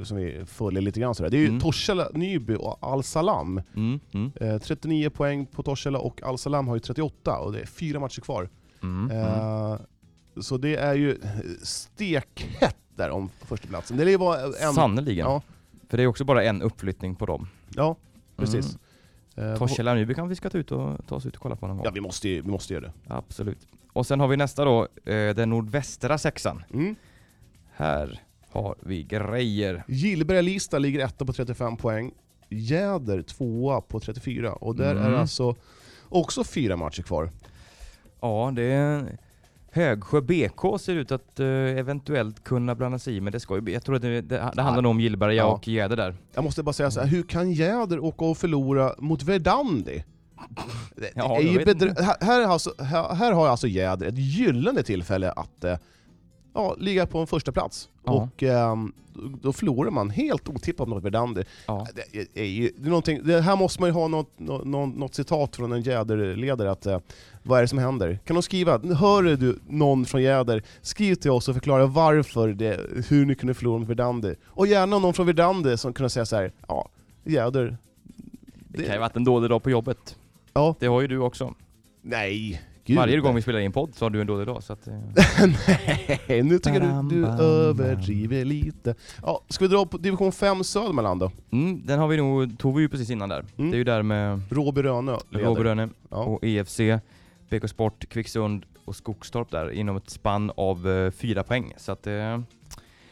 Speaker 2: som vi följer lite grann sådär. Det är ju
Speaker 3: Mm.
Speaker 2: Torshälla, Nyby och Al-Salam.
Speaker 3: Mm, mm,
Speaker 2: Eh, 39 poäng på Torshälla och Al-Salam har ju 38 och det är fyra matcher kvar.
Speaker 3: mm, mm.
Speaker 2: Eh, så det är ju eh, stekhett där om förstaplatsen. Det är ju bara en...
Speaker 3: Sannerligen.
Speaker 2: Ja.
Speaker 3: För det är också bara en uppflyttning på dem.
Speaker 2: Ja,
Speaker 3: Mm.
Speaker 2: precis. Eh,
Speaker 3: Torshälla och Nyby kan vi ska ta, ut och, ta oss ut och kolla på någon gång.
Speaker 2: Ja, vi måste ju vi måste göra det.
Speaker 3: Absolut. Och sen har vi nästa då, eh, den nordvästra sexan.
Speaker 2: Mm.
Speaker 3: Här har vi grejer.
Speaker 2: Gillberga-Lista ligger etta på 35 poäng. Jäder tvåa på 34 och där är
Speaker 3: Mm.
Speaker 2: alltså också fyra matcher kvar.
Speaker 3: Ja, det är Högsjö BK ser ut att eh, eventuellt kunna blanda sig i, men det ska ju bli. Jag tror att det, det, det handlar nog om Gillberga
Speaker 2: Ja.
Speaker 3: och Gäder där.
Speaker 2: Jag måste bara säga så här, hur kan Jäder åka och förlora mot Verdandi? Det
Speaker 3: Ja,
Speaker 2: är
Speaker 3: jag
Speaker 2: ju
Speaker 3: vet
Speaker 2: bedrö-
Speaker 3: inte.
Speaker 2: här, här, har alltså, här, här har alltså Jäder ett gyllene tillfälle att eh, ja, ligga på en första plats
Speaker 3: Ja.
Speaker 2: Och ehm, då- då förlorar man helt otippat mot Verdandi.
Speaker 3: Ja.
Speaker 2: Det, är ju, det, är någonting- det här måste man ju ha något, nå- nå- något citat från en Jäderledare, att eh, vad är det som händer? Kan de skriva, hör du någon från Jäder, skriv till oss och förklara varför det, hur ni kunde förlora mot Verdandi. Och gärna någon från Verdandi som kunde säga så här, ja, Jäder...
Speaker 3: Det kan ju ha varit en dålig dag på jobbet.
Speaker 2: Ja.
Speaker 3: Det har ju du också.
Speaker 2: Nej, Gud.
Speaker 3: Varje gång vi spelar in podd så har du en dålig dag. Så att, eh,
Speaker 2: Nej, nu tycker du du
Speaker 3: Bam, bam,
Speaker 2: överdriver lite. Ja, ska vi dra upp division 5 Södermanland då?
Speaker 3: mm, den har vi nog, tog vi ju precis innan där.
Speaker 2: Mm.
Speaker 3: Det är ju där med
Speaker 2: Råby Rönö leder.
Speaker 3: Robert Rönne
Speaker 2: Ja.
Speaker 3: och E EFC, BK Sport, Kvicksund och Skogstorp där inom ett spann av eh, fyra poäng. Så att, eh,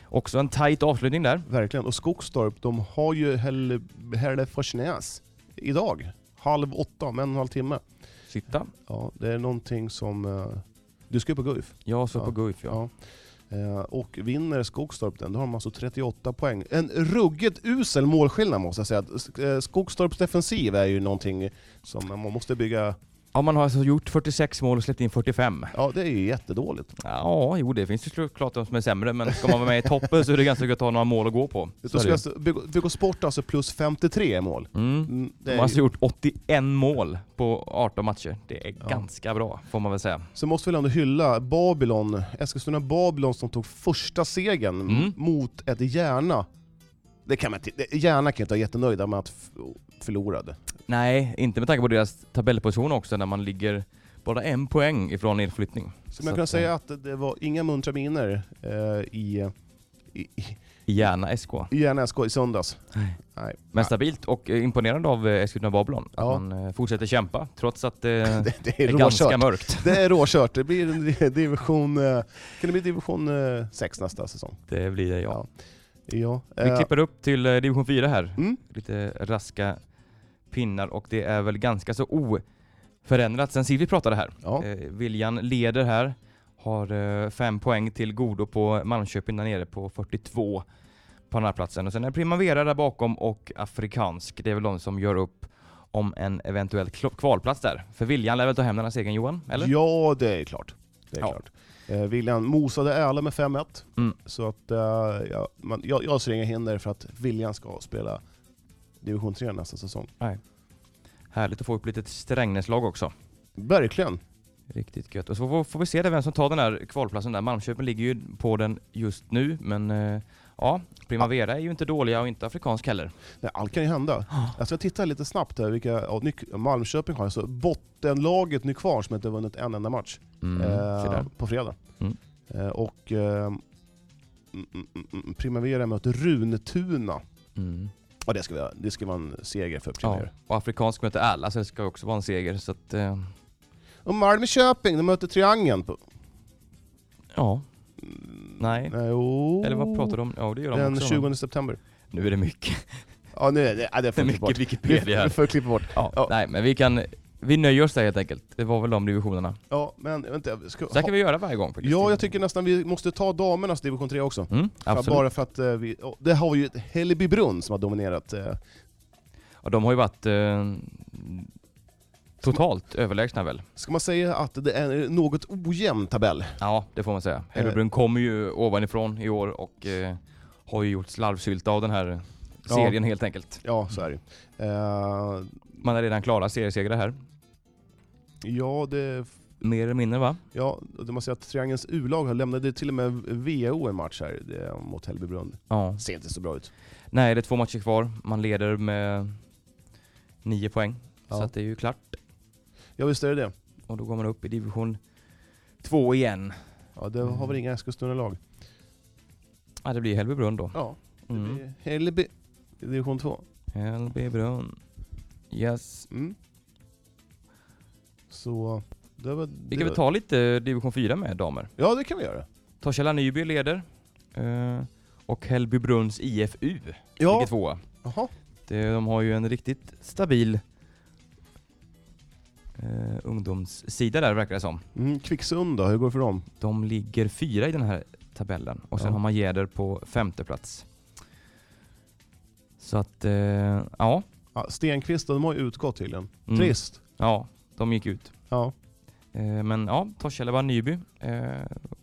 Speaker 3: också en tight avslutning där.
Speaker 2: Verkligen. Och Skogstorp, de har ju Helle- Hälleforsnäs idag. Halv åtta, om en och en halv timme.
Speaker 3: Sitta.
Speaker 2: Ja, det är någonting som... eh, Du ska ju på Guif.
Speaker 3: Jag så
Speaker 2: Ja.
Speaker 3: på Guif ja.
Speaker 2: Eh, Och vinner Skogstorp den, då har de alltså 38 poäng. En ruggigt usel målskillnad måste jag säga. Sk- eh, Skogstorps defensiv är ju någonting som man måste bygga...
Speaker 3: ja. Man har alltså gjort 46 mål och släppt in 45.
Speaker 2: Ja, det är ju jättedåligt.
Speaker 3: Ja, jo det finns ju såklart de som är sämre, men ska man vara med i toppen så är det ganska gött att ha några mål att gå på. Så
Speaker 2: Då
Speaker 3: är
Speaker 2: ska
Speaker 3: det ju.
Speaker 2: alltså, BK BK Sport har alltså plus 53 mål.
Speaker 3: Mm.
Speaker 2: Mm, det
Speaker 3: De
Speaker 2: är
Speaker 3: har alltså
Speaker 2: ju-
Speaker 3: gjort 81 mål på 18 matcher. Det är
Speaker 2: Ja.
Speaker 3: ganska bra, får man väl säga.
Speaker 2: Så måste vi väl ändå hylla Babylon, Eskilstuna Babylon som tog första segern
Speaker 3: Mm.
Speaker 2: m- mot ett Järna. Det kan man inte, det- Järna kan inte vara jättenöjda med att f- förlorade.
Speaker 3: Nej, inte med tanke på deras tabellposition också, när man ligger bara en poäng ifrån nedflyttning.
Speaker 2: Så
Speaker 3: Så
Speaker 2: man kan
Speaker 3: att, eh,
Speaker 2: säga att det var inga muntra miner eh, i, i,
Speaker 3: I Järna SK.
Speaker 2: i Järna SK i söndags.
Speaker 3: Nej.
Speaker 2: Nej.
Speaker 3: Men stabilt och eh, imponerande av eh, Eskilstuna Babylon. Att
Speaker 2: Ja.
Speaker 3: man eh, fortsätter kämpa, trots att eh, det
Speaker 2: Det, det
Speaker 3: är
Speaker 2: är råkört.
Speaker 3: ganska mörkt.
Speaker 2: Det är råkört. Det blir en division... eh, Kan det bli division 6 nästa säsong?
Speaker 3: Det blir det, ja.
Speaker 2: Ja. Ja.
Speaker 3: Vi
Speaker 2: eh,
Speaker 3: klipper upp till eh, division 4 här.
Speaker 2: Mm.
Speaker 3: Lite raska pinnar och det är väl ganska så oförändrat sen sist vi pratade här.
Speaker 2: ja.
Speaker 3: Eh, Viljan leder här. Har eh, fem poäng till godo på Malmköping där nere på 42 på andra platsen. Och sen är Primavera där bakom och Afrikansk. Det är väl de som gör upp om en eventuell klo- kvalplats där. För Viljan lär väl ta hem den här segern Johan? Eller?
Speaker 2: Ja, det är klart. Det är
Speaker 3: Ja.
Speaker 2: klart. Eh, William mosade Äla med 5-1.
Speaker 3: Mm.
Speaker 2: Så att, eh, ja, man, jag, jag ser inga hinder för att William ska spela division 3 nästa säsong.
Speaker 3: Härligt att få upp lite Strängnäslag också.
Speaker 2: Verkligen.
Speaker 3: Riktigt gött. Och så får, får vi se där vem som tar den här kvalplatsen där. Malmköping ligger ju på den just nu, men eh, ja, Primavera är ju inte dåliga och inte afrikansk heller.
Speaker 2: Nej, allt kan ju hända. Alltså, Jag ska titta lite snabbt här vilka ja, Nyk- Malmköping har. Alltså bottenlaget Nykvarn som inte vunnit en enda match
Speaker 3: Mm. se
Speaker 2: eh,
Speaker 3: där.
Speaker 2: på fredag.
Speaker 3: Mm.
Speaker 2: Eh, och eh, mm, mm, mm, Primavera möter Runetuna.
Speaker 3: Mm.
Speaker 2: Och det ska, vara, det ska vara en seger för
Speaker 3: Ja,
Speaker 2: Primavera.
Speaker 3: och afrikansk möter alla så det ska ju också vara en seger. Så att, eh,
Speaker 2: Och Malmköping, de möter Triangeln. På,
Speaker 3: ja,
Speaker 2: Mm,
Speaker 3: Nej.
Speaker 2: jo.
Speaker 3: eller vad pratar du om? Ja, det gör de
Speaker 2: Den
Speaker 3: också.
Speaker 2: 20 september.
Speaker 3: Nu är det mycket.
Speaker 2: Ja, nu är det, ja, det
Speaker 3: Det
Speaker 2: får
Speaker 3: är
Speaker 2: vi klippa bort.
Speaker 3: mycket Wikipedia
Speaker 2: Vi
Speaker 3: här.
Speaker 2: får klippa bort.
Speaker 3: Ja,
Speaker 2: Ja.
Speaker 3: Nej, men vi kan... Vi nöjer oss där helt enkelt. Det var väl de divisionerna.
Speaker 2: Ja, men vänta. Ska,
Speaker 3: Så här kan vi göra varje gång faktiskt.
Speaker 2: ja, jag tycker nästan vi måste ta damernas division 3 också.
Speaker 3: Mm,
Speaker 2: För,
Speaker 3: absolut.
Speaker 2: bara för att eh, vi... Oh, det har vi ju ett Hellbybrunn som har dominerat. eh,
Speaker 3: Ja, de har ju varit eh, totalt överlägsna väl?
Speaker 2: Ska man säga att det är en något ojämn tabell?
Speaker 3: Ja, det får man säga. Hellrebrunn kommer ju ovanifrån i år och eh, har ju gjort slarvsylta av den här eh,
Speaker 2: Ja.
Speaker 3: serien helt enkelt.
Speaker 2: Ja, så är det ju. Eh,
Speaker 3: Man har redan klara seriesegrar här.
Speaker 2: Ja, det...
Speaker 3: Mer eller mindre va?
Speaker 2: Ja, det man säger att Triangelns U-lag har lämnade till och med VO en match här det, mot Hellbybrunn.
Speaker 3: Ja.
Speaker 2: Ser inte så bra ut.
Speaker 3: Nej, det är två matcher kvar. Man leder med nio poäng.
Speaker 2: Ja.
Speaker 3: Så att det är ju klart.
Speaker 2: Ja, visst är det det.
Speaker 3: Och då går man upp i division två igen.
Speaker 2: Ja, det har väl inga Eskilstuna-lag.
Speaker 3: Ja, det blir Hällbybrunn då.
Speaker 2: Ja,
Speaker 3: Mm.
Speaker 2: mm. Hällby, division 2.
Speaker 3: Hällbybrunn. Yes.
Speaker 2: Mm. Så... Det var, det
Speaker 3: Vi kan
Speaker 2: var,
Speaker 3: väl ta lite division 4 med damer.
Speaker 2: Ja, det kan vi göra.
Speaker 3: Torshälla Nyby leder. Eh, och Hällbybrunns IFU ligger
Speaker 2: Ja,
Speaker 3: tvåa.
Speaker 2: jaha.
Speaker 3: Det, de har ju en riktigt stabil eh, ungdomssida där verkar det som.
Speaker 2: Mm, Kvicksund då, hur går det för dem?
Speaker 3: De ligger fyra i den här tabellen och sen
Speaker 2: Ja.
Speaker 3: har man Gäder på femte plats. Så att, eh, ja.
Speaker 2: Ja, Stenqvist, de har ju utgått tydligen.
Speaker 3: Mm.
Speaker 2: Trist.
Speaker 3: Ja, de gick ut.
Speaker 2: Ja.
Speaker 3: Eh, men ja, Torshälla Nyby eh,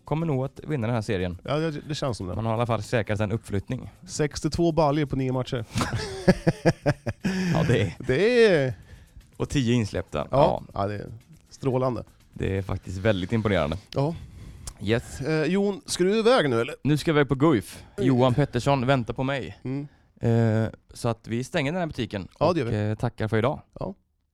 Speaker 3: kommer nog att vinna den här serien.
Speaker 2: ja, det, det känns som det.
Speaker 3: Man har i alla fall säkrat en uppflyttning.
Speaker 2: 62 baljer på nio matcher.
Speaker 3: Ja, det är.
Speaker 2: Det är...
Speaker 3: Och tio insläppta.
Speaker 2: Ja, ja det är strålande.
Speaker 3: det är faktiskt väldigt imponerande.
Speaker 2: Ja.
Speaker 3: Yes.
Speaker 2: Eh, Jon, ska du iväg nu eller?
Speaker 3: Nu ska vi på Guif. Johan Pettersson väntar på mig.
Speaker 2: Mm.
Speaker 3: Eh, Så att vi stänger den här butiken
Speaker 2: Ja,
Speaker 3: och
Speaker 2: det gör vi.
Speaker 3: eh, tackar för idag.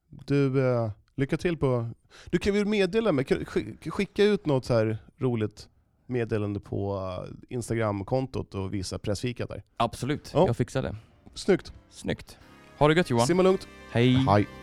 Speaker 2: Du, eh, Lycka till på... Du kan väl meddela mig, kan- skick- skicka ut något så här roligt meddelande på eh, Instagram-kontot och visa pressfikat där.
Speaker 3: Absolut,
Speaker 2: Ja.
Speaker 3: jag fixar det.
Speaker 2: Snyggt!
Speaker 3: Snyggt. Ha det gött Johan. Mm.
Speaker 2: Simma lugnt.
Speaker 3: Hej.
Speaker 2: Hej.